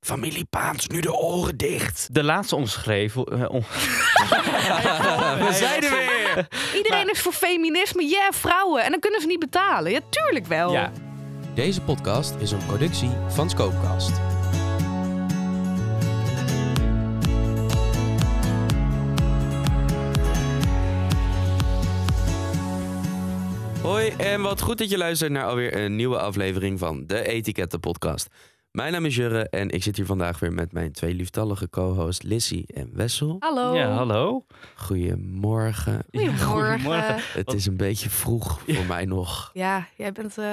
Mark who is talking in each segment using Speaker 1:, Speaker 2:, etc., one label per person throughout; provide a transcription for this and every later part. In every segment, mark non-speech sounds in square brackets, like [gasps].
Speaker 1: Familie Paans, nu de oren dicht.
Speaker 2: De laatste omschreven. eh, om-
Speaker 1: We zijn er weer.
Speaker 3: Iedereen is voor feminisme. Ja, vrouwen. En dan kunnen ze niet betalen. Ja, tuurlijk wel.
Speaker 2: Ja.
Speaker 4: Deze podcast is een productie van Scopecast.
Speaker 1: Hoi en wat goed dat je luistert naar alweer een nieuwe aflevering van de Etiketten Podcast. Mijn naam is Jurre en ik zit hier vandaag weer met mijn twee lieftallige co-hosts Lissy en Wessel.
Speaker 3: Hallo.
Speaker 2: ja, hallo.
Speaker 1: Goedemorgen.
Speaker 3: Oh. Goedemorgen.
Speaker 1: Het is een beetje vroeg voor mij nog.
Speaker 3: Ja, jij bent eh,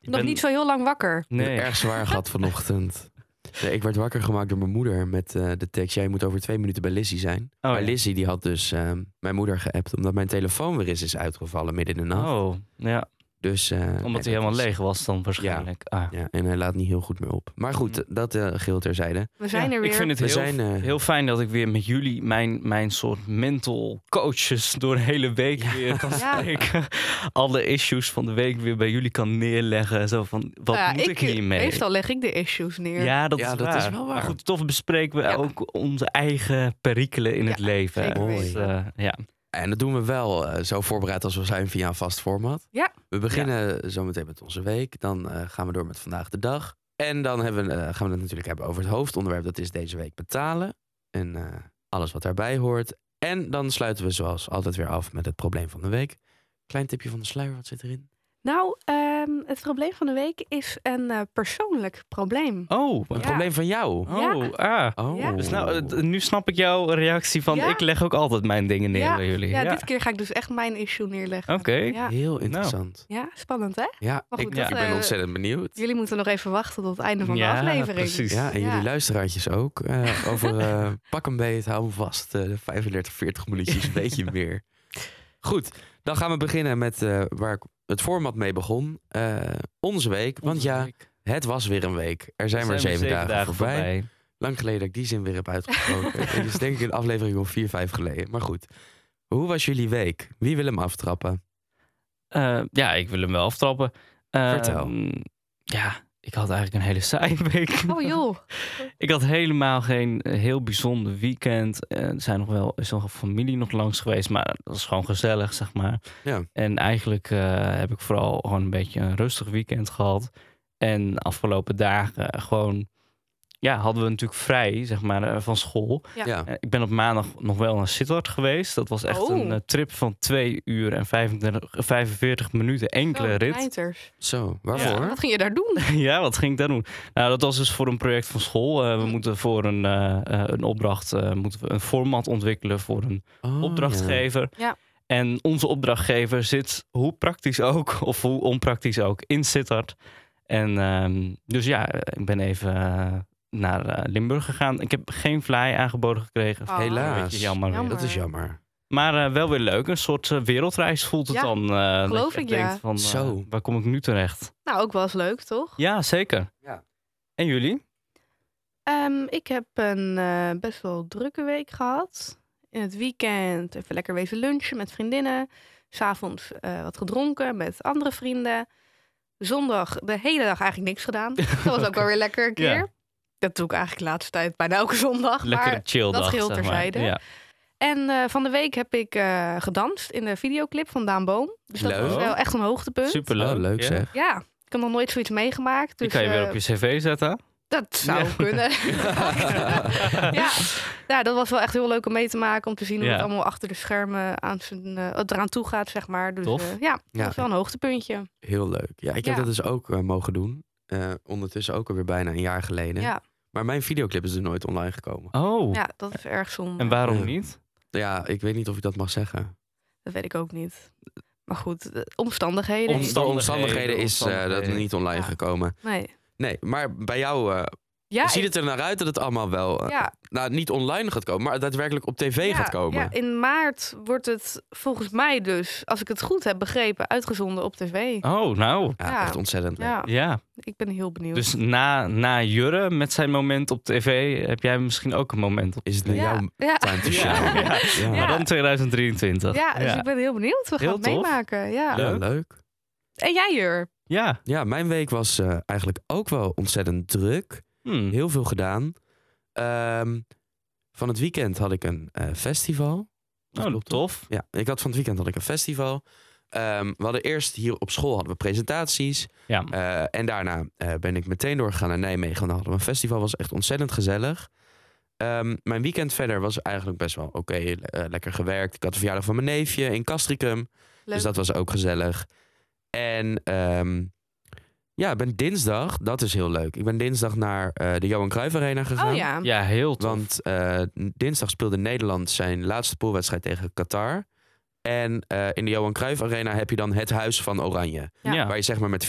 Speaker 3: nog
Speaker 2: ben-
Speaker 3: niet zo heel lang wakker.
Speaker 1: Ik heb
Speaker 2: Nee.
Speaker 1: het erg zwaar gehad vanochtend. Nee, ik werd wakker gemaakt door mijn moeder met eh, de tekst... jij moet over twee minuten bij Lizzie zijn.
Speaker 2: Oh,
Speaker 1: maar
Speaker 2: ja.
Speaker 1: Lizzie die had dus ehm, mijn moeder geappt... omdat mijn telefoon weer eens is uitgevallen midden in de nacht.
Speaker 2: Oh, ja.
Speaker 1: Dus, eh, nee,
Speaker 2: Omdat
Speaker 1: dat
Speaker 2: hij helemaal
Speaker 1: was-
Speaker 2: leeg was dan waarschijnlijk. Ah.
Speaker 1: Ja, en hij laat niet heel goed meer op. Maar goed, dat eh geheel terzijde.
Speaker 3: We zijn
Speaker 2: Ja,
Speaker 3: er weer.
Speaker 2: Ik vind Mm. het
Speaker 1: We
Speaker 2: heel,
Speaker 1: zijn, eh,
Speaker 2: heel fijn dat ik weer met jullie mijn, mijn soort mental coaches door de hele week weer kan
Speaker 3: Ja.
Speaker 2: spreken. Alle issues van de week weer bij jullie kan neerleggen. Zo van, wat
Speaker 3: Nou ja,
Speaker 2: moet ik, hiermee?
Speaker 3: Meestal leg ik de issues neer.
Speaker 2: Ja, dat,
Speaker 1: Ja,
Speaker 2: is,
Speaker 1: dat
Speaker 2: waar.
Speaker 1: is wel waar.
Speaker 2: Maar goed, tof bespreken we
Speaker 3: Ja.
Speaker 2: ook onze eigen perikelen in het
Speaker 3: Ja,
Speaker 2: leven.
Speaker 3: zeker
Speaker 2: Dus,
Speaker 1: weten.
Speaker 2: eh, ja.
Speaker 1: En dat doen we wel eh, zo voorbereid als we zijn via een vast format.
Speaker 3: Ja.
Speaker 1: We beginnen zometeen met onze week. Dan eh, gaan we door met vandaag de dag. En dan hebben, we, eh, gaan we het natuurlijk hebben over het hoofdonderwerp. Dat is deze week betalen. En eh, alles wat daarbij hoort. En dan sluiten we zoals altijd weer af met het probleem van de week. Klein tipje van de sluier, wat zit erin?
Speaker 3: Nou, ehm, het probleem van de week is een eh, persoonlijk probleem.
Speaker 2: Oh,
Speaker 1: Een
Speaker 3: Ja.
Speaker 1: probleem van jou?
Speaker 2: oh, ah.
Speaker 1: Oh.
Speaker 3: Ja.
Speaker 2: Dus nou, het- nu snap ik jouw reactie van
Speaker 3: Ja.
Speaker 2: ik leg ook altijd mijn dingen neer bij jullie.
Speaker 3: Ja,
Speaker 2: Ja.
Speaker 3: dit keer ga ik dus echt mijn issue neerleggen.
Speaker 2: Oké.
Speaker 3: Ja.
Speaker 1: Heel interessant.
Speaker 3: ja, spannend hè?
Speaker 1: Ja,
Speaker 3: Maar goed,
Speaker 1: ik,
Speaker 3: dat,
Speaker 1: ik ben
Speaker 3: eh,
Speaker 1: ontzettend benieuwd.
Speaker 3: Jullie moeten nog even wachten tot het einde van de aflevering.
Speaker 2: precies.
Speaker 1: Ja, en
Speaker 3: Ja.
Speaker 1: jullie luisteraartjes ook. [laughs] eh, over eh, pak een beet, hou hem vast. eh, de 35, 40 minuutjes, een [laughs] beetje meer. Goed, dan gaan we beginnen met eh, waar ik het format mee begon. Eh, onze week. Want ja, het was weer een week. Er zijn maar
Speaker 2: maar
Speaker 1: zeven, dagen, voorbij. Lang geleden dat ik die zin weer heb [laughs] uitgesproken. Het is denk ik een aflevering of vier, vijf geleden. Maar goed, hoe was jullie week? Wie wil hem aftrappen?
Speaker 2: Eh, ja, ik wil hem wel aftrappen. Eh,
Speaker 1: Vertel.
Speaker 2: Ja, ik had eigenlijk een hele saaie week.
Speaker 3: Oh joh.
Speaker 2: Ik had helemaal geen eh, heel bijzonder weekend. Eh, Er zijn nog wel, is nog familie nog langs geweest, maar dat is gewoon gezellig, zeg maar.
Speaker 1: Ja.
Speaker 2: En eigenlijk eh, heb ik vooral gewoon een beetje een rustig weekend gehad. En de afgelopen dagen eh, gewoon, ja, hadden we natuurlijk vrij, zeg maar, eh, van school.
Speaker 3: Ja.
Speaker 1: Ja.
Speaker 2: Eh, Ik ben op maandag nog wel naar Sittard geweest. Dat was echt
Speaker 3: Oh.
Speaker 2: een eh, trip van 2 uur en 25, 45 minuten enkele
Speaker 3: Oh,
Speaker 2: rit.
Speaker 3: knijters.
Speaker 1: Zo, waarvoor?
Speaker 3: Wat ging je daar doen?
Speaker 2: [laughs] Ja, wat ging ik daar doen? Nou, dat was dus voor een project van school. Eh, we moeten voor een, eh, eh, een opdracht eh, moeten we een format ontwikkelen voor een
Speaker 1: Oh,
Speaker 2: opdrachtgever.
Speaker 3: Ja.
Speaker 2: En onze opdrachtgever zit, hoe praktisch ook, [laughs] of hoe onpraktisch ook, in Sittard. En ehm, dus ja, eh, ik ben even eh, naar eh, Limburg gegaan. Ik heb geen fly aangeboden gekregen.
Speaker 3: Oh.
Speaker 1: Helaas.
Speaker 2: Een beetje jammer. weer.
Speaker 1: ja. Dat is jammer.
Speaker 2: Maar eh, wel weer leuk. Een soort eh, wereldreis voelt het
Speaker 3: Ja,
Speaker 2: dan. eh, dat
Speaker 3: geloof
Speaker 2: je echt
Speaker 3: ik, ja.
Speaker 2: denkt van, eh,
Speaker 1: Zo.
Speaker 2: Waar kom ik nu terecht?
Speaker 3: Nou, ook wel eens leuk, toch?
Speaker 2: Ja, zeker.
Speaker 1: Ja.
Speaker 2: En jullie?
Speaker 3: Ehm, ik heb een eh, best wel drukke week gehad. In het weekend even lekker wezen lunchen met vriendinnen. S'avonds eh, wat gedronken met andere vrienden. Zondag de hele dag eigenlijk niks
Speaker 2: [laughs]
Speaker 3: gedaan. Dat was ook wel weer lekker een keer.
Speaker 2: Ja.
Speaker 3: Dat doe ik eigenlijk de laatste tijd bijna elke zondag.
Speaker 2: Lekkere
Speaker 3: Maar...
Speaker 2: chill dag.
Speaker 3: dat geheel
Speaker 2: zeg maar.
Speaker 3: terzijde.
Speaker 2: Ja.
Speaker 3: En eh, van de week heb ik eh, gedanst in de videoclip van Daan Boom. Dus dat
Speaker 1: Leuk.
Speaker 3: was wel echt een hoogtepunt.
Speaker 2: Superleuk.
Speaker 1: Oh, leuk
Speaker 2: ja.
Speaker 1: zeg.
Speaker 3: Ja, ik heb nog nooit zoiets meegemaakt.
Speaker 2: Die
Speaker 3: Dus,
Speaker 2: kan je weer
Speaker 3: eh,
Speaker 2: op je cv zetten.
Speaker 3: Dat zou
Speaker 2: Ja. [laughs]
Speaker 3: kunnen. ja. ja, dat was wel echt heel leuk om mee te maken. Om te zien hoe
Speaker 2: Ja.
Speaker 3: het allemaal achter de schermen aan zijn, eh, eraan toe gaat, zeg maar. Dus
Speaker 2: Tof.
Speaker 3: eh, ja, dat
Speaker 1: Ja.
Speaker 3: was wel een hoogtepuntje.
Speaker 1: Heel leuk. Ja, ik heb
Speaker 3: Ja.
Speaker 1: dat dus ook eh, mogen doen. Eh, ondertussen ook alweer bijna een jaar geleden.
Speaker 3: Ja,
Speaker 1: Maar mijn videoclip is dus nooit online gekomen.
Speaker 2: Oh.
Speaker 3: ja, dat is erg zonde.
Speaker 2: En waarom
Speaker 1: Ja.
Speaker 2: niet?
Speaker 1: Ja, ik weet niet of ik dat mag zeggen.
Speaker 3: Dat weet ik ook niet. Maar goed, de omstandigheden.
Speaker 2: Omsta-
Speaker 1: De omstandigheden is eh, dat
Speaker 2: omstandigheden.
Speaker 1: niet online
Speaker 3: Ja.
Speaker 1: gekomen.
Speaker 3: nee.
Speaker 1: Nee, maar bij jou eh,
Speaker 3: Ja,
Speaker 1: ziet
Speaker 3: ik-
Speaker 1: het er naar uit dat het allemaal wel... eh,
Speaker 3: ja,
Speaker 1: Nou, niet online gaat komen, maar daadwerkelijk op tv
Speaker 3: ja,
Speaker 1: gaat komen.
Speaker 3: Ja, in maart wordt het volgens mij dus, als ik het goed heb begrepen, uitgezonden op tv.
Speaker 2: Oh, nou.
Speaker 1: Ja,
Speaker 3: Ja.
Speaker 1: echt ontzettend leuk.
Speaker 3: Ja,
Speaker 2: Ja.
Speaker 3: ik ben heel benieuwd.
Speaker 2: Dus na, na Jurre met zijn moment op tv heb jij misschien ook een moment op
Speaker 1: Is het naar
Speaker 3: ja,
Speaker 1: jouw
Speaker 3: ja.
Speaker 1: time to
Speaker 2: [laughs] Ja.
Speaker 1: shine?
Speaker 2: Ja.
Speaker 1: Ja.
Speaker 2: Maar dan 2023.
Speaker 3: Ja, dus
Speaker 2: ja.
Speaker 3: ik ben heel benieuwd. We gaan
Speaker 2: Heel
Speaker 3: het
Speaker 2: tof.
Speaker 3: meemaken. Ja.
Speaker 1: Ja,
Speaker 2: Leuk.
Speaker 1: leuk.
Speaker 3: En jij, Jur?
Speaker 2: Ja.
Speaker 1: Ja, mijn week was eh, eigenlijk ook wel ontzettend druk.
Speaker 2: Hmm.
Speaker 1: Heel veel gedaan. Ehm, van het weekend had ik een eh, festival.
Speaker 2: Oh,
Speaker 1: klopt, toch?
Speaker 2: tof.
Speaker 1: Ja, ik had van het weekend had ik een festival. Ehm, we hadden eerst hier op school hadden we presentaties.
Speaker 2: Ja.
Speaker 1: Eh, en daarna eh, ben ik meteen doorgegaan naar Nijmegen. En dan hadden we een festival. was echt ontzettend gezellig. Ehm, mijn weekend verder was eigenlijk best wel oké. eh, lekker gewerkt. Ik had de verjaardag van mijn neefje in Castricum.
Speaker 3: Leuk.
Speaker 1: Dus dat was ook gezellig. En ehm, ja, ik ben dinsdag, dat is heel leuk. Ik ben dinsdag naar eh, de Johan Cruijff Arena gegaan.
Speaker 3: oh ja.
Speaker 2: Ja, heel tof.
Speaker 1: Want eh, dinsdag speelde Nederland zijn laatste poolwedstrijd tegen Qatar. En eh, in de Johan Cruijff Arena heb je dan het Huis van Oranje.
Speaker 3: Ja.
Speaker 2: ja.
Speaker 1: Waar je zeg maar met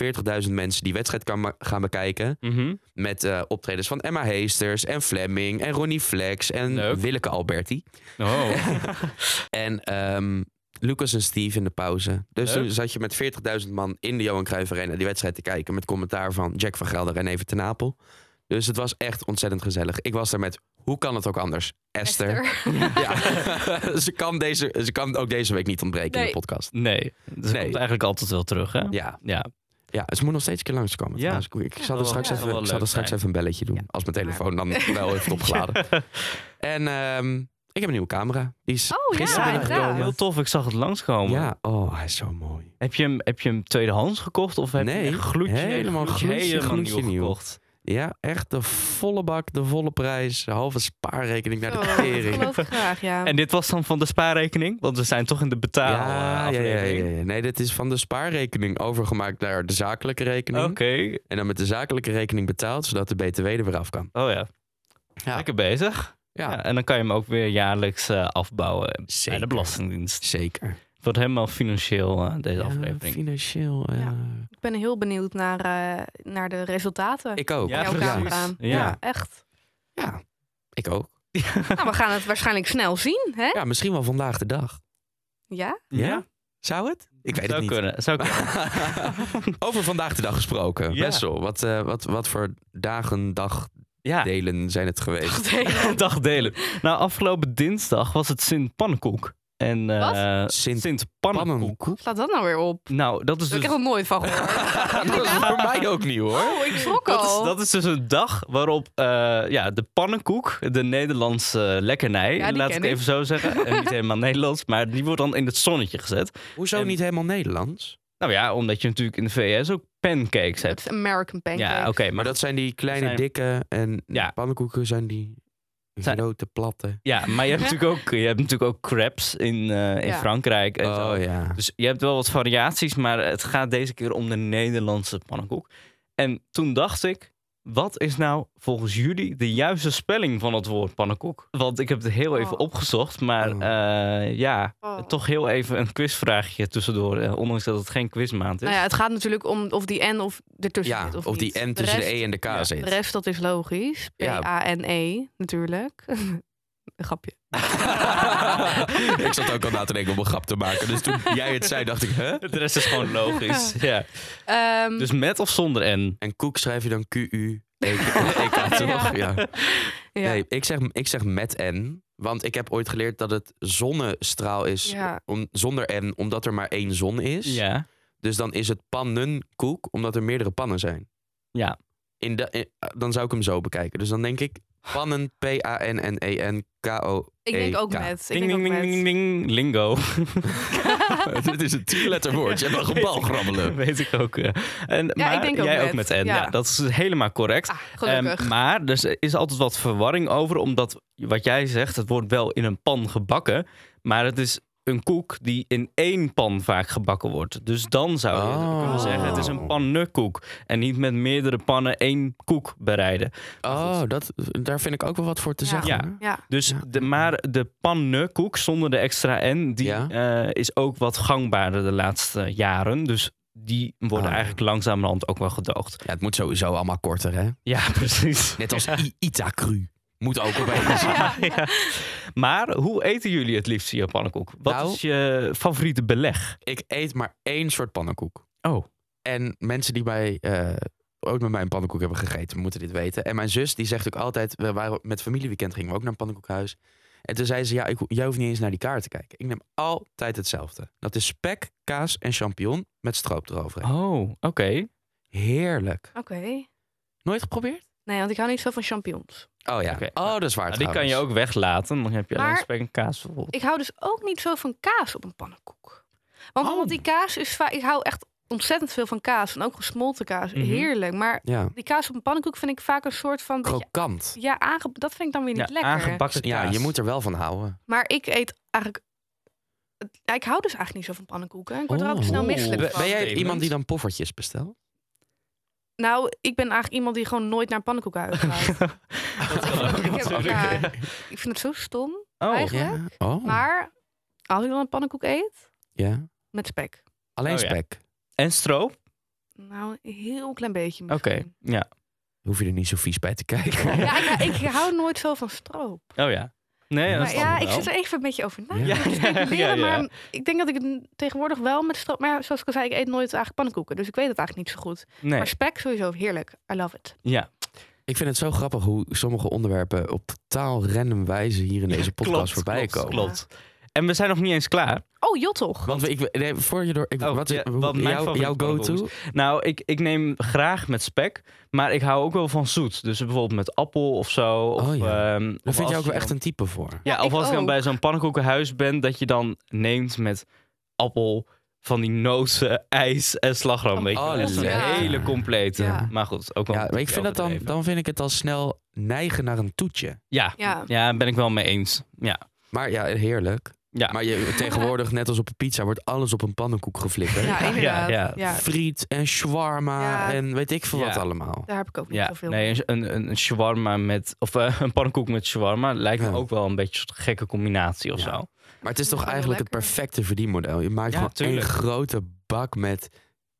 Speaker 1: 40.000 mensen die wedstrijd kan ma- gaan bekijken.
Speaker 2: Mhm.
Speaker 1: Met eh, optredens van Emma Heesters en Fleming en Ronnie Flex en
Speaker 2: Leuk.
Speaker 1: Willeke Alberti.
Speaker 2: Oh.
Speaker 1: [laughs] En ehm, Lucas en Steve in de pauze. Dus
Speaker 2: Leuk.
Speaker 1: toen zat je met 40.000 man in de Johan Cruijff Arena die wedstrijd te kijken. Met commentaar van Jack van Gelder en Even ten Apel. Dus het was echt ontzettend gezellig. Ik was daar met, hoe kan het ook anders? Esther. [laughs] Ja. ze, kan deze, ze kan ook deze week niet ontbreken in
Speaker 3: Nee.
Speaker 1: de podcast.
Speaker 2: nee, dat komt
Speaker 1: Nee.
Speaker 2: eigenlijk altijd wel terug, hè?
Speaker 1: Ja,
Speaker 2: Ja.
Speaker 1: ja, ze moet nog steeds een keer langskomen.
Speaker 2: Ja.
Speaker 1: Ja. Ik, ik zal er
Speaker 2: wel-
Speaker 1: straks,
Speaker 3: ja,
Speaker 2: wel
Speaker 1: even, ik zal er
Speaker 2: leuk
Speaker 1: straks
Speaker 2: zijn.
Speaker 1: even een belletje doen.
Speaker 3: Ja.
Speaker 1: Als mijn telefoon dan wel heeft opgeladen. En ehm, ik heb een nieuwe camera. Die is
Speaker 3: Oh, ja,
Speaker 1: gisteren binnengekomen.
Speaker 3: inderdaad.
Speaker 2: heel tof. Ik zag het langskomen.
Speaker 1: Ja, oh, hij is zo mooi.
Speaker 2: Heb, je hem, heb je hem tweedehands gekocht? Of heb
Speaker 1: Nee,
Speaker 2: je hem echt gloedje,
Speaker 1: helemaal
Speaker 2: gloedje,
Speaker 1: gloedje,
Speaker 2: helemaal
Speaker 1: gloedje
Speaker 2: nieuw
Speaker 1: nieuw.
Speaker 2: gekocht?
Speaker 1: Ja, echt de volle bak, de volle prijs, de halve spaarrekening naar de
Speaker 3: Oh, dat
Speaker 1: [laughs] tering.
Speaker 3: geloof ik graag, ja.
Speaker 2: En dit was dan van de spaarrekening? Want we zijn toch in de betaal
Speaker 1: Ja, ja,
Speaker 2: eh,
Speaker 1: ja, ja,
Speaker 2: aflevering.
Speaker 1: ja. Nee, dit is van de spaarrekening overgemaakt naar de zakelijke rekening.
Speaker 2: Oké.
Speaker 1: En dan met de zakelijke rekening betaald, zodat de BTW er weer af kan.
Speaker 2: Oh ja.
Speaker 1: Ja.
Speaker 2: Lekker bezig.
Speaker 1: Ja,
Speaker 2: Ja, en dan kan je hem ook weer jaarlijks eh, afbouwen bij de
Speaker 1: zeker.
Speaker 2: Belastingdienst.
Speaker 1: Zeker.
Speaker 2: Het wordt helemaal financieel, eh, deze
Speaker 1: Ja,
Speaker 2: aflevering.
Speaker 1: Financieel. eh,
Speaker 3: Ja. Ik ben heel benieuwd naar, eh, naar de resultaten.
Speaker 1: Ik ook.
Speaker 3: van jouw
Speaker 2: precies.
Speaker 3: camera.
Speaker 2: Ja.
Speaker 3: ja, echt.
Speaker 1: Ja, ik ook.
Speaker 3: Nou, we gaan het waarschijnlijk snel zien, hè?
Speaker 1: Ja, misschien wel vandaag de dag.
Speaker 3: Ja?
Speaker 1: Ja? Zou het? Ik weet
Speaker 2: zou
Speaker 1: het niet.
Speaker 2: Kunnen, zou kunnen.
Speaker 1: [laughs] Over vandaag de dag gesproken.
Speaker 2: Ja.
Speaker 1: Wessel, wat, eh, wat, wat voor dagen, dagdelen
Speaker 2: Ja,
Speaker 1: zijn het geweest?
Speaker 2: [laughs] dagdelen. Nou, afgelopen dinsdag was het Sint Pannenkoek. En, eh,
Speaker 1: Sint
Speaker 2: Sint Pannenkoek.
Speaker 1: Pannenkoek?
Speaker 3: [laughs] Slaat dat nou weer op?
Speaker 2: Nou, dat
Speaker 3: Ik
Speaker 2: is
Speaker 3: heb
Speaker 2: dus... [laughs]
Speaker 3: er nog nooit van gehoord.
Speaker 1: dat is voor mij ook niet hoor.
Speaker 3: Oh, ik schrok
Speaker 2: Dat is,
Speaker 3: al.
Speaker 2: dat is dus een dag waarop eh, ja, de pannenkoek, de Nederlandse eh, lekkernij,
Speaker 3: Ja, die
Speaker 2: laat ik
Speaker 3: ken
Speaker 2: even zo
Speaker 3: [laughs]
Speaker 2: zeggen. en niet helemaal Nederlands, maar die wordt dan in het zonnetje gezet.
Speaker 1: Hoezo
Speaker 2: En-
Speaker 1: niet helemaal Nederlands?
Speaker 2: Nou ja, omdat je natuurlijk in de VS ook
Speaker 3: Het
Speaker 2: pancakes hebt.
Speaker 3: is American Pancake.
Speaker 2: Ja, oké, maar
Speaker 1: Maar dat zijn die kleine,
Speaker 2: zijn-
Speaker 1: dikke en
Speaker 2: Ja.
Speaker 1: pannenkoeken zijn die
Speaker 2: Zijn-
Speaker 1: grote, platte.
Speaker 2: Ja, maar je hebt,
Speaker 3: Ja.
Speaker 2: natuurlijk, ook, je hebt natuurlijk ook crepes in, eh, in
Speaker 3: Ja.
Speaker 2: Frankrijk. En zo.
Speaker 1: Oh ja.
Speaker 2: Dus je hebt wel wat variaties, maar het gaat deze keer om de Nederlandse pannenkoek. En toen dacht ik, wat is nou volgens jullie de juiste spelling van het woord pannenkoek? Want ik heb het heel even
Speaker 3: Oh.
Speaker 2: opgezocht, maar
Speaker 1: Oh.
Speaker 2: eh, ja,
Speaker 3: Oh.
Speaker 2: toch heel even een quizvraagje tussendoor. eh, ondanks dat het geen quizmaand is. [laughs]
Speaker 3: Nou ja, het gaat natuurlijk om of die N of ertussen
Speaker 1: Ja,
Speaker 3: zit of,
Speaker 1: of die
Speaker 3: Dus niet.
Speaker 1: N tussen de
Speaker 3: rest-
Speaker 1: E en de K
Speaker 2: ja,
Speaker 1: zit.
Speaker 3: De rest, dat is logisch.
Speaker 1: Ja.
Speaker 3: P-A-N-E, E, natuurlijk. [laughs] Een grapje.
Speaker 1: [laughs] [laughs] ik zat ook al na te denken om een grap te maken. Dus toen jij het zei, dacht ik, hè?
Speaker 2: De rest is gewoon
Speaker 3: [laughs]
Speaker 2: logisch. ja.
Speaker 3: Ehm,
Speaker 2: Dus met of zonder N?
Speaker 1: En koek schrijf je dan E Q-U. EK, toch? Ja.
Speaker 3: ja.
Speaker 1: Nee, ik zeg, ik zeg met N. Want ik heb ooit geleerd dat het zonnestraal is
Speaker 3: Ja.
Speaker 1: om, zonder N, omdat er maar één zon is.
Speaker 2: Ja.
Speaker 1: Dus dan is het pannenkoek, omdat er meerdere pannen zijn.
Speaker 2: Ja.
Speaker 1: In de, in- eh, dan zou ik hem zo bekijken. Dus dan denk ik pannen, [laughs] E P-A-N-N-E-N-K-O.
Speaker 3: ik denk ook
Speaker 1: EK.
Speaker 3: met. Ik
Speaker 2: Ding,
Speaker 3: denk
Speaker 2: ding,
Speaker 3: ook met.
Speaker 2: ding, ding, ding. Lingo.
Speaker 3: [laughs]
Speaker 1: [laughs] Dit is een tierletter woord. Je mag een bal grabbelen.
Speaker 2: [laughs] Weet ik ook. eh. En,
Speaker 3: Ja,
Speaker 2: maar
Speaker 3: ik denk ook
Speaker 2: jij
Speaker 3: met,
Speaker 2: ook met N. Ja.
Speaker 3: ja.
Speaker 2: dat is helemaal correct.
Speaker 3: Ah, gelukkig.
Speaker 2: Ehm, maar dus er is altijd wat verwarring over, omdat wat jij zegt, het wordt wel in een pan gebakken, maar het is een koek die in één pan vaak gebakken wordt. Dus dan zou je
Speaker 1: Oh.
Speaker 2: kunnen zeggen, het is een pannenkoek en niet met meerdere pannen één koek bereiden.
Speaker 1: Oh, dat, daar vind ik ook wel wat voor te
Speaker 3: Ja.
Speaker 1: zeggen.
Speaker 2: Ja.
Speaker 1: hoor.
Speaker 3: ja.
Speaker 2: Dus
Speaker 1: Ja.
Speaker 2: de, maar de pannenkoek zonder de extra N, die
Speaker 1: Ja.
Speaker 2: eh, is ook wat gangbaarder de laatste jaren. Dus die worden
Speaker 1: Ah.
Speaker 2: eigenlijk langzamerhand ook wel gedoogd.
Speaker 1: Ja, het moet sowieso allemaal korter, hè?
Speaker 2: Ja, [laughs] precies.
Speaker 1: Net als I- Itacru. Moet ook
Speaker 2: [laughs]
Speaker 1: opeens.
Speaker 2: Ja, ja. Maar hoe eten jullie het liefst je pannenkoek? Wat
Speaker 1: Nou-
Speaker 2: is je favoriete beleg?
Speaker 1: ik eet maar één soort pannenkoek.
Speaker 2: Oh.
Speaker 1: En mensen die mij eh, ooit met mij een pannenkoek hebben gegeten, moeten dit weten. En mijn zus die zegt ook altijd, we waren met familieweekend gingen we ook naar een pannenkoekhuis. En toen zei ze, ja, ik, ho- jij hoeft niet eens naar die kaart te kijken. Ik neem altijd hetzelfde. Dat is spek, kaas en champignon
Speaker 3: Oh,
Speaker 1: met stroop eroverheen.
Speaker 2: Oh, oké.
Speaker 1: Heerlijk.
Speaker 3: Oké.
Speaker 1: Nooit geprobeerd?
Speaker 3: Nee, want ik hou niet zo van champignons.
Speaker 1: Oh ja.
Speaker 2: Oké.
Speaker 1: Oh, dat is waar.
Speaker 2: Nou, die kan je
Speaker 1: trouwens.
Speaker 2: ook weglaten. Dan heb je alleen
Speaker 3: Maar-
Speaker 2: spek en kaas bijvoorbeeld.
Speaker 3: Ik hou dus ook niet zo van kaas op een pannenkoek. Want
Speaker 2: Oh.
Speaker 3: bijvoorbeeld die kaas is vaak... Ik hou echt ontzettend veel van kaas. En ook gesmolten kaas.
Speaker 2: Mhm.
Speaker 3: Heerlijk. Maar
Speaker 1: Ja,
Speaker 3: die kaas op een pannenkoek vind ik vaak een soort van... beetje-
Speaker 1: krokant.
Speaker 3: ja, aange, dat vind ik dan weer niet lekker.
Speaker 2: aangebakken
Speaker 1: Ja,
Speaker 2: kaas.
Speaker 1: je moet er wel van houden.
Speaker 3: Maar ik eet eigenlijk... het- Ik hou dus eigenlijk niet zo van pannenkoeken. Ik word er
Speaker 1: Oh.
Speaker 3: ook snel
Speaker 2: Oeh.
Speaker 3: misselijk
Speaker 1: Ben
Speaker 3: van.
Speaker 1: ben jij
Speaker 2: Statement.
Speaker 1: iemand die dan poffertjes
Speaker 3: [laughs]
Speaker 1: bestelt?
Speaker 3: Nou, ik ben eigenlijk iemand die gewoon nooit naar pannenkoekhuis
Speaker 1: [laughs]
Speaker 3: gaat.
Speaker 2: Dat kan ook
Speaker 3: Ik heb-
Speaker 2: natuurlijk.
Speaker 3: ja, ik vind het zo stom.
Speaker 2: Oh,
Speaker 3: Eigenlijk-
Speaker 1: Ja. Oh,
Speaker 3: Maar als ik dan een pannenkoek eet,
Speaker 1: ja.
Speaker 3: met spek.
Speaker 1: Alleen
Speaker 2: Oh, ja.
Speaker 1: spek.
Speaker 2: en stroop? Oké,
Speaker 3: Nou, een heel klein beetje misschien.
Speaker 2: ja.
Speaker 1: Hoef je er niet zo vies bij te
Speaker 2: [laughs]
Speaker 1: kijken.
Speaker 3: Ja, ik, ik hou nooit zo van stroop.
Speaker 2: Oh ja. Nee, dat
Speaker 3: maar
Speaker 2: snap
Speaker 3: ja,
Speaker 2: ik
Speaker 3: ik
Speaker 2: wel.
Speaker 3: zit er even een beetje over na.
Speaker 1: Ja.
Speaker 3: Ja,
Speaker 2: [laughs] Ja, ja.
Speaker 3: Maar ik denk dat ik het tegenwoordig wel met stroop... Maar ja, zoals ik al zei, ik eet nooit eigenlijk pannenkoeken. Dus ik weet het eigenlijk niet zo goed.
Speaker 2: Nee,
Speaker 3: Maar spek sowieso heerlijk. I love it.
Speaker 2: ja.
Speaker 1: Ik vind het zo grappig hoe sommige onderwerpen op totaal random wijze hier in deze podcast
Speaker 2: Klopt,
Speaker 1: voorbij
Speaker 2: klopt,
Speaker 1: komen.
Speaker 2: Klopt. En we zijn nog niet eens klaar.
Speaker 3: Oh, jottig.
Speaker 1: Want we- ik, nee, voor je door, ik,
Speaker 2: Oh,
Speaker 1: wat,
Speaker 2: ja,
Speaker 1: hoe-
Speaker 2: wat mijn
Speaker 1: jouw,
Speaker 2: favoriete
Speaker 1: jouw go-to?
Speaker 2: pannenkoek Nou, ik, ik neem graag met spek, maar ik hou ook wel van zoet. Dus bijvoorbeeld met appel of zo. Of,
Speaker 1: Oh ja.
Speaker 2: ehm,
Speaker 1: Daar
Speaker 2: of
Speaker 1: vind
Speaker 2: als
Speaker 1: je ook wel echt
Speaker 2: dan-
Speaker 1: een type voor.
Speaker 2: Ja,
Speaker 3: Ja,
Speaker 2: of
Speaker 3: ik
Speaker 2: als ik dan
Speaker 3: ook.
Speaker 2: bij zo'n pannenkoekenhuis ben, dat je dan neemt met appel, van die noten, [laughs] ijs en slagroom. Weet je.
Speaker 1: Oh,
Speaker 2: wel. Echt een
Speaker 3: lekker.
Speaker 2: hele complete.
Speaker 3: Ja.
Speaker 2: Maar goed, ook wel.
Speaker 1: Ja,
Speaker 2: een
Speaker 1: maar ik
Speaker 2: beetje
Speaker 1: vind dat dan,
Speaker 2: overdreven.
Speaker 1: dan vind ik het al snel neigen naar een toetje.
Speaker 2: Ja, ja.
Speaker 3: Ja.
Speaker 2: ben ik wel mee eens. Ja.
Speaker 1: Maar ja, heerlijk.
Speaker 2: Ja.
Speaker 1: Maar je, tegenwoordig, net als op een pizza, wordt alles op een pannenkoek geflikkerd.
Speaker 3: Ja, inderdaad.
Speaker 2: ja.
Speaker 3: Ja,
Speaker 1: Friet en shawarma
Speaker 3: Ja.
Speaker 1: en weet ik veel
Speaker 2: Ja.
Speaker 1: wat allemaal.
Speaker 3: Daar heb ik ook niet
Speaker 2: Ja,
Speaker 3: zoveel
Speaker 2: nee, een, een, een shawarma met, of eh, een pannenkoek met shawarma lijkt
Speaker 1: Ja.
Speaker 2: me ook wel een beetje een gekke combinatie of
Speaker 1: Ja.
Speaker 2: zo.
Speaker 1: Maar het is
Speaker 3: Dat
Speaker 1: toch
Speaker 3: is wel
Speaker 1: eigenlijk het
Speaker 3: lekker.
Speaker 1: perfecte verdienmodel. Je maakt
Speaker 2: Ja,
Speaker 1: gewoon
Speaker 2: tuurlijk.
Speaker 1: één grote bak met,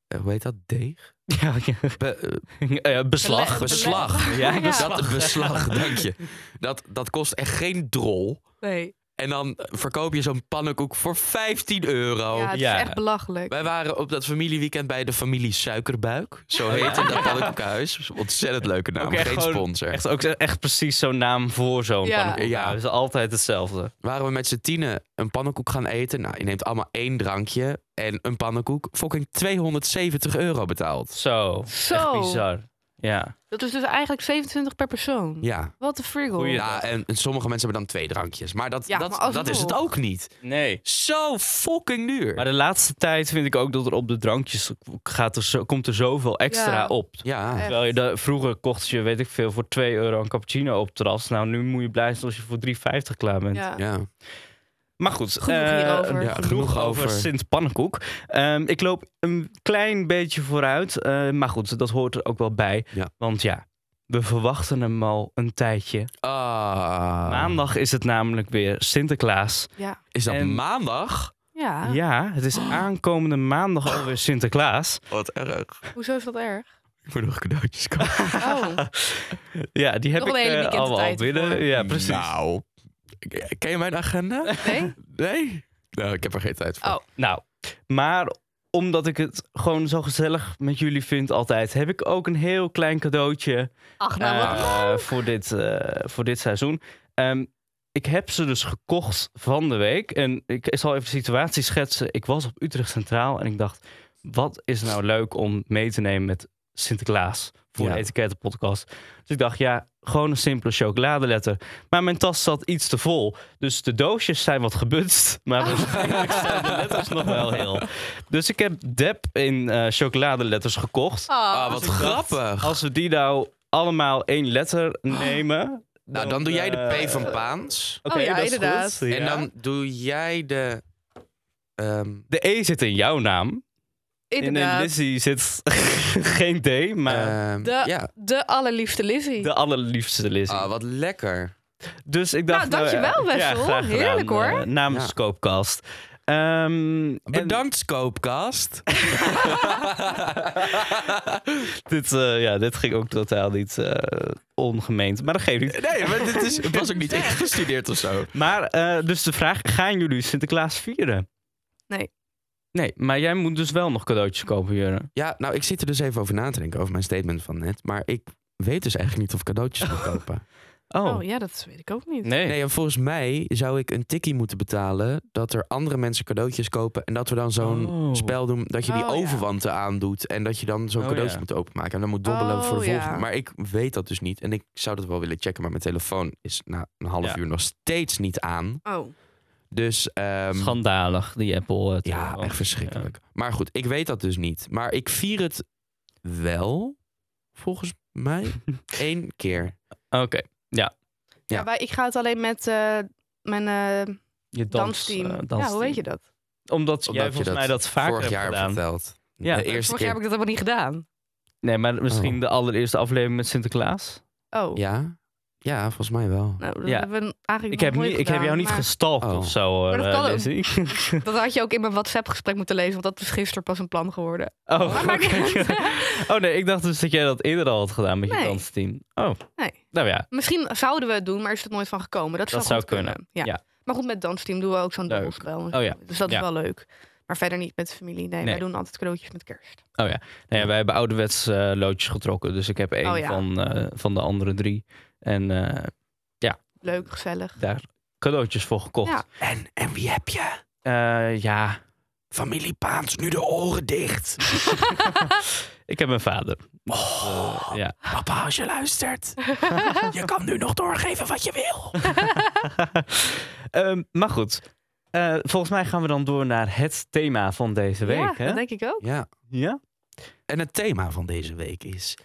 Speaker 1: eh, hoe heet dat, deeg?
Speaker 2: Ja, [laughs] ja.
Speaker 1: Be- eh,
Speaker 2: Eh, beslag.
Speaker 3: Beleg.
Speaker 1: beslag.
Speaker 2: [laughs] Ja,
Speaker 3: Ja.
Speaker 2: beslag.
Speaker 1: Dat
Speaker 2: [laughs]
Speaker 1: beslag, dank je. Dat, dat kost echt geen drol.
Speaker 3: Nee.
Speaker 1: En dan eh, verkoop je zo'n pannenkoek voor 15 euro.
Speaker 3: Ja, het
Speaker 2: Oh, ja.
Speaker 3: is echt belachelijk.
Speaker 1: Wij waren op dat familieweekend bij de familie Suikerbuik. Zo heette dat
Speaker 2: [laughs]
Speaker 1: pannenkoekhuis. Ontzettend leuke naam,
Speaker 2: Ook echt
Speaker 1: geen
Speaker 2: gewoon
Speaker 1: sponsor.
Speaker 2: Echt, ook echt precies zo'n naam voor zo'n
Speaker 3: Ja.
Speaker 2: pannenkoek.
Speaker 1: Ja.
Speaker 2: Ja, is altijd hetzelfde.
Speaker 1: Waren we met z'n tienen een pannenkoek gaan eten. Nou, je neemt allemaal één drankje en een pannenkoek. Fucking 270 euro betaald.
Speaker 2: Zo. Echt
Speaker 3: Zo.
Speaker 2: bizar. Ja.
Speaker 3: Dat is dus eigenlijk 27 per persoon.
Speaker 1: Ja.
Speaker 3: Wat een frugal.
Speaker 2: Goeie-
Speaker 1: Ja, en, en sommige mensen hebben dan twee drankjes. Maar dat,
Speaker 3: Ja,
Speaker 1: dat,
Speaker 3: maar alsnog.
Speaker 1: dat is het ook niet.
Speaker 2: Nee.
Speaker 1: Zo fucking duur.
Speaker 2: Maar de laatste tijd vind ik ook dat er op de drankjes gaat er zo, komt er zoveel extra
Speaker 3: Ja.
Speaker 2: op.
Speaker 1: ja.
Speaker 3: Echt.
Speaker 2: Terwijl je da- vroeger kocht je, weet ik veel, voor 2 euro een cappuccino op het terras. Nou, nu moet je blij zijn als je voor 3,50 klaar bent.
Speaker 3: Ja.
Speaker 1: ja.
Speaker 2: Maar goed,
Speaker 3: Genoeg
Speaker 2: eh,
Speaker 3: hierover.
Speaker 1: Ja,
Speaker 2: genoeg,
Speaker 1: genoeg
Speaker 2: over,
Speaker 1: over.
Speaker 2: Sint Pannenkoek. Ehm, ik loop een klein beetje vooruit. eh, maar goed, dat hoort er ook wel bij.
Speaker 1: Ja.
Speaker 2: Want ja, we verwachten hem al een tijdje.
Speaker 1: Ah.
Speaker 2: Maandag is het namelijk weer Sinterklaas.
Speaker 3: Ja.
Speaker 1: Is dat
Speaker 2: En-
Speaker 1: maandag?
Speaker 3: Ja.
Speaker 2: Ja, het
Speaker 3: [gasps]
Speaker 2: is aankomende maandag alweer Sinterklaas.
Speaker 1: Wat erg.
Speaker 3: Hoezo is dat erg?
Speaker 1: Ik moet nog
Speaker 2: [laughs]
Speaker 1: cadeautjes kopen.
Speaker 3: Oh.
Speaker 2: Ja, die heb
Speaker 3: Nog een
Speaker 2: ik
Speaker 3: hele
Speaker 2: eh,
Speaker 3: weekend
Speaker 2: allemaal al
Speaker 3: tijd voor.
Speaker 2: binnen. Ja, precies.
Speaker 1: Nou, ken je mijn
Speaker 3: [laughs]
Speaker 1: agenda?
Speaker 2: [laughs]
Speaker 3: Nee?
Speaker 1: Nee? Nou, ik heb er geen tijd voor.
Speaker 3: Oh.
Speaker 2: Nou, maar omdat ik het gewoon zo gezellig met jullie vind altijd... heb ik ook een heel klein cadeautje
Speaker 3: Ach, nou
Speaker 2: eh,
Speaker 3: wat
Speaker 2: voor, dit, eh, voor dit seizoen. Ehm, ik heb ze dus gekocht van de week. En ik zal even de situatie schetsen. Ik was op Utrecht Centraal en ik dacht... wat is nou leuk om mee te nemen met Sinterklaas... voor
Speaker 1: Ja.
Speaker 2: de etikettenpodcast. Dus ik dacht, ja, gewoon een simpele chocoladeletter. Maar mijn tas zat iets te vol. Dus de doosjes zijn wat gebutst.
Speaker 3: [laughs]
Speaker 2: Maar [laughs] waarschijnlijk zijn de letters nog wel heel. Dus ik heb Dep in eh chocoladeletters gekocht.
Speaker 1: Ah,
Speaker 3: Ah,
Speaker 1: wat
Speaker 2: ik dacht-
Speaker 1: grappig.
Speaker 2: Als we die nou allemaal één letter nemen.
Speaker 1: nou, dan doe jij de
Speaker 2: eh,
Speaker 1: P van Paans.
Speaker 2: Oké,
Speaker 3: Ah. Oh ja,
Speaker 2: dat is
Speaker 3: inderdaad.
Speaker 2: goed.
Speaker 1: En
Speaker 2: Ja.
Speaker 1: dan doe jij de... ehm,
Speaker 2: De E zit in jouw naam. En in
Speaker 3: Inderdaad.
Speaker 2: Lizzie zit [laughs] geen D, maar
Speaker 1: ehm,
Speaker 3: de-
Speaker 1: Ja.
Speaker 3: De allerliefste Lizzie.
Speaker 2: de allerliefste Lizzie.
Speaker 1: Eh. Ah, wat lekker.
Speaker 2: Dus ik dacht...
Speaker 3: Nou, dankjewel,
Speaker 2: [laughs] eh,
Speaker 3: Wessel.
Speaker 2: graag gedaan,
Speaker 3: Heerlijk, hoor.
Speaker 2: eh, namens
Speaker 1: Ja.
Speaker 2: Koopkast. Ehm, en
Speaker 1: Bedankt, Scoopcast.
Speaker 2: dit, eh, ja, dit ging ook totaal niet eh, ongemeend, maar dat geeft niet.
Speaker 1: [laughs] Nee, maar dit is, het was ook niet ingestudeerd of zo.
Speaker 2: Maar eh, dus de vraag, gaan jullie Sinterklaas vieren?
Speaker 3: Nee.
Speaker 2: Nee, maar jij moet dus wel nog cadeautjes kopen, Jurre.
Speaker 1: Ja, nou, ik zit er dus even over na te denken, over mijn statement van net. Maar ik weet dus eigenlijk niet of ik cadeautjes moet kopen.
Speaker 2: Oh,
Speaker 3: Oh ja, dat weet ik ook niet.
Speaker 2: nee.
Speaker 1: Nee, en volgens mij zou ik een tikkie moeten betalen dat er andere mensen cadeautjes kopen en dat we dan zo'n
Speaker 2: Oh.
Speaker 1: spel doen dat je die
Speaker 3: Oh, ja.
Speaker 1: overwanten aandoet en dat je dan zo'n
Speaker 2: Oh,
Speaker 1: cadeautje
Speaker 2: ja.
Speaker 1: moet openmaken en dan moet dobbelen
Speaker 3: Oh,
Speaker 1: voor de
Speaker 3: ja.
Speaker 1: volgende. Maar ik weet dat dus niet en ik zou dat wel willen checken, maar mijn telefoon is na een half
Speaker 2: Ja.
Speaker 1: uur nog steeds niet aan.
Speaker 3: Oh,
Speaker 1: Dus ehm,
Speaker 2: Schandalig, die Apple. eh,
Speaker 1: ja,
Speaker 2: telefoon.
Speaker 1: echt verschrikkelijk. Maar goed, ik weet dat dus niet. Maar ik vier het wel, volgens
Speaker 2: [laughs]
Speaker 1: mij, één keer.
Speaker 2: Oké,
Speaker 1: Ja.
Speaker 3: ja. wij- ik ga het alleen met eh, mijn eh,
Speaker 2: je dans,
Speaker 3: dansteam.
Speaker 2: eh,
Speaker 3: ja,
Speaker 2: dansteam.
Speaker 3: hoe weet je dat?
Speaker 2: Omdat,
Speaker 1: Omdat
Speaker 2: jij
Speaker 1: je
Speaker 2: volgens
Speaker 1: dat
Speaker 2: mij dat vaker
Speaker 1: Vorig
Speaker 2: hebt
Speaker 1: jaar
Speaker 2: gedaan.
Speaker 1: verteld.
Speaker 2: Ja.
Speaker 1: de eerste
Speaker 3: Vorig
Speaker 1: keer.
Speaker 3: jaar heb ik dat helemaal niet gedaan.
Speaker 2: Nee, maar misschien
Speaker 1: Oh.
Speaker 2: de allereerste aflevering met Sinterklaas.
Speaker 3: Oh,
Speaker 1: Ja? Ja, volgens mij wel.
Speaker 3: nou, dat
Speaker 2: Ja.
Speaker 3: hebben we eigenlijk
Speaker 2: Ik heb,
Speaker 3: nog
Speaker 2: niet,
Speaker 3: nooit
Speaker 2: ik heb jou
Speaker 3: gedaan,
Speaker 2: niet
Speaker 3: maar
Speaker 2: gestalkt
Speaker 1: Oh.
Speaker 2: of zo. hoor,
Speaker 3: Maar dat
Speaker 2: eh,
Speaker 3: kan ook.
Speaker 2: Leslie.
Speaker 3: Dat had je ook [laughs] in mijn WhatsApp-gesprek moeten lezen, want dat is gisteren pas een plan geworden.
Speaker 2: [laughs] oh,
Speaker 3: Maar maakt
Speaker 2: oké.
Speaker 3: niet uit.
Speaker 2: [laughs] oh nee, ik dacht dus dat jij dat eerder al had gedaan met je
Speaker 3: Nee.
Speaker 2: dansteam. Oh,
Speaker 3: Nee.
Speaker 2: nou ja.
Speaker 3: Misschien zouden we het doen, maar is het nooit van gekomen. Dat,
Speaker 2: Dat
Speaker 3: zou goed
Speaker 2: zou kunnen,
Speaker 3: kunnen. Ja.
Speaker 2: ja.
Speaker 3: Maar goed, met dansteam doen we ook zo'n
Speaker 2: Leuk.
Speaker 3: dubbelspel. en
Speaker 2: Oh ja,
Speaker 3: zo. Dus dat
Speaker 2: ja.
Speaker 3: is wel leuk. Maar verder niet met familie. Nee,
Speaker 2: Nee.
Speaker 3: wij doen altijd cadeautjes met kerst.
Speaker 2: Nou ja, wij hebben ouderwets eh, loodjes getrokken. Dus ik heb één
Speaker 3: Oh ja.
Speaker 2: van, eh, van de andere drie. En eh,
Speaker 3: Leuk, gezellig.
Speaker 2: daar cadeautjes voor gekocht.
Speaker 3: Ja.
Speaker 1: En, en wie heb je?
Speaker 2: Eh, ja.
Speaker 1: Familie Paans, nu de oren dicht.
Speaker 2: ik heb een vader.
Speaker 1: Oh,
Speaker 2: eh, Ja.
Speaker 1: Papa, als je luistert,
Speaker 3: [laughs]
Speaker 1: je kan nu nog doorgeven wat je wil.
Speaker 2: [laughs] Ehm, maar goed, Eh, volgens mij gaan we dan door naar het thema van deze week.
Speaker 3: ja,
Speaker 2: hè?
Speaker 3: dat denk ik ook.
Speaker 1: Ja,
Speaker 2: Ja?
Speaker 1: en het thema van deze week is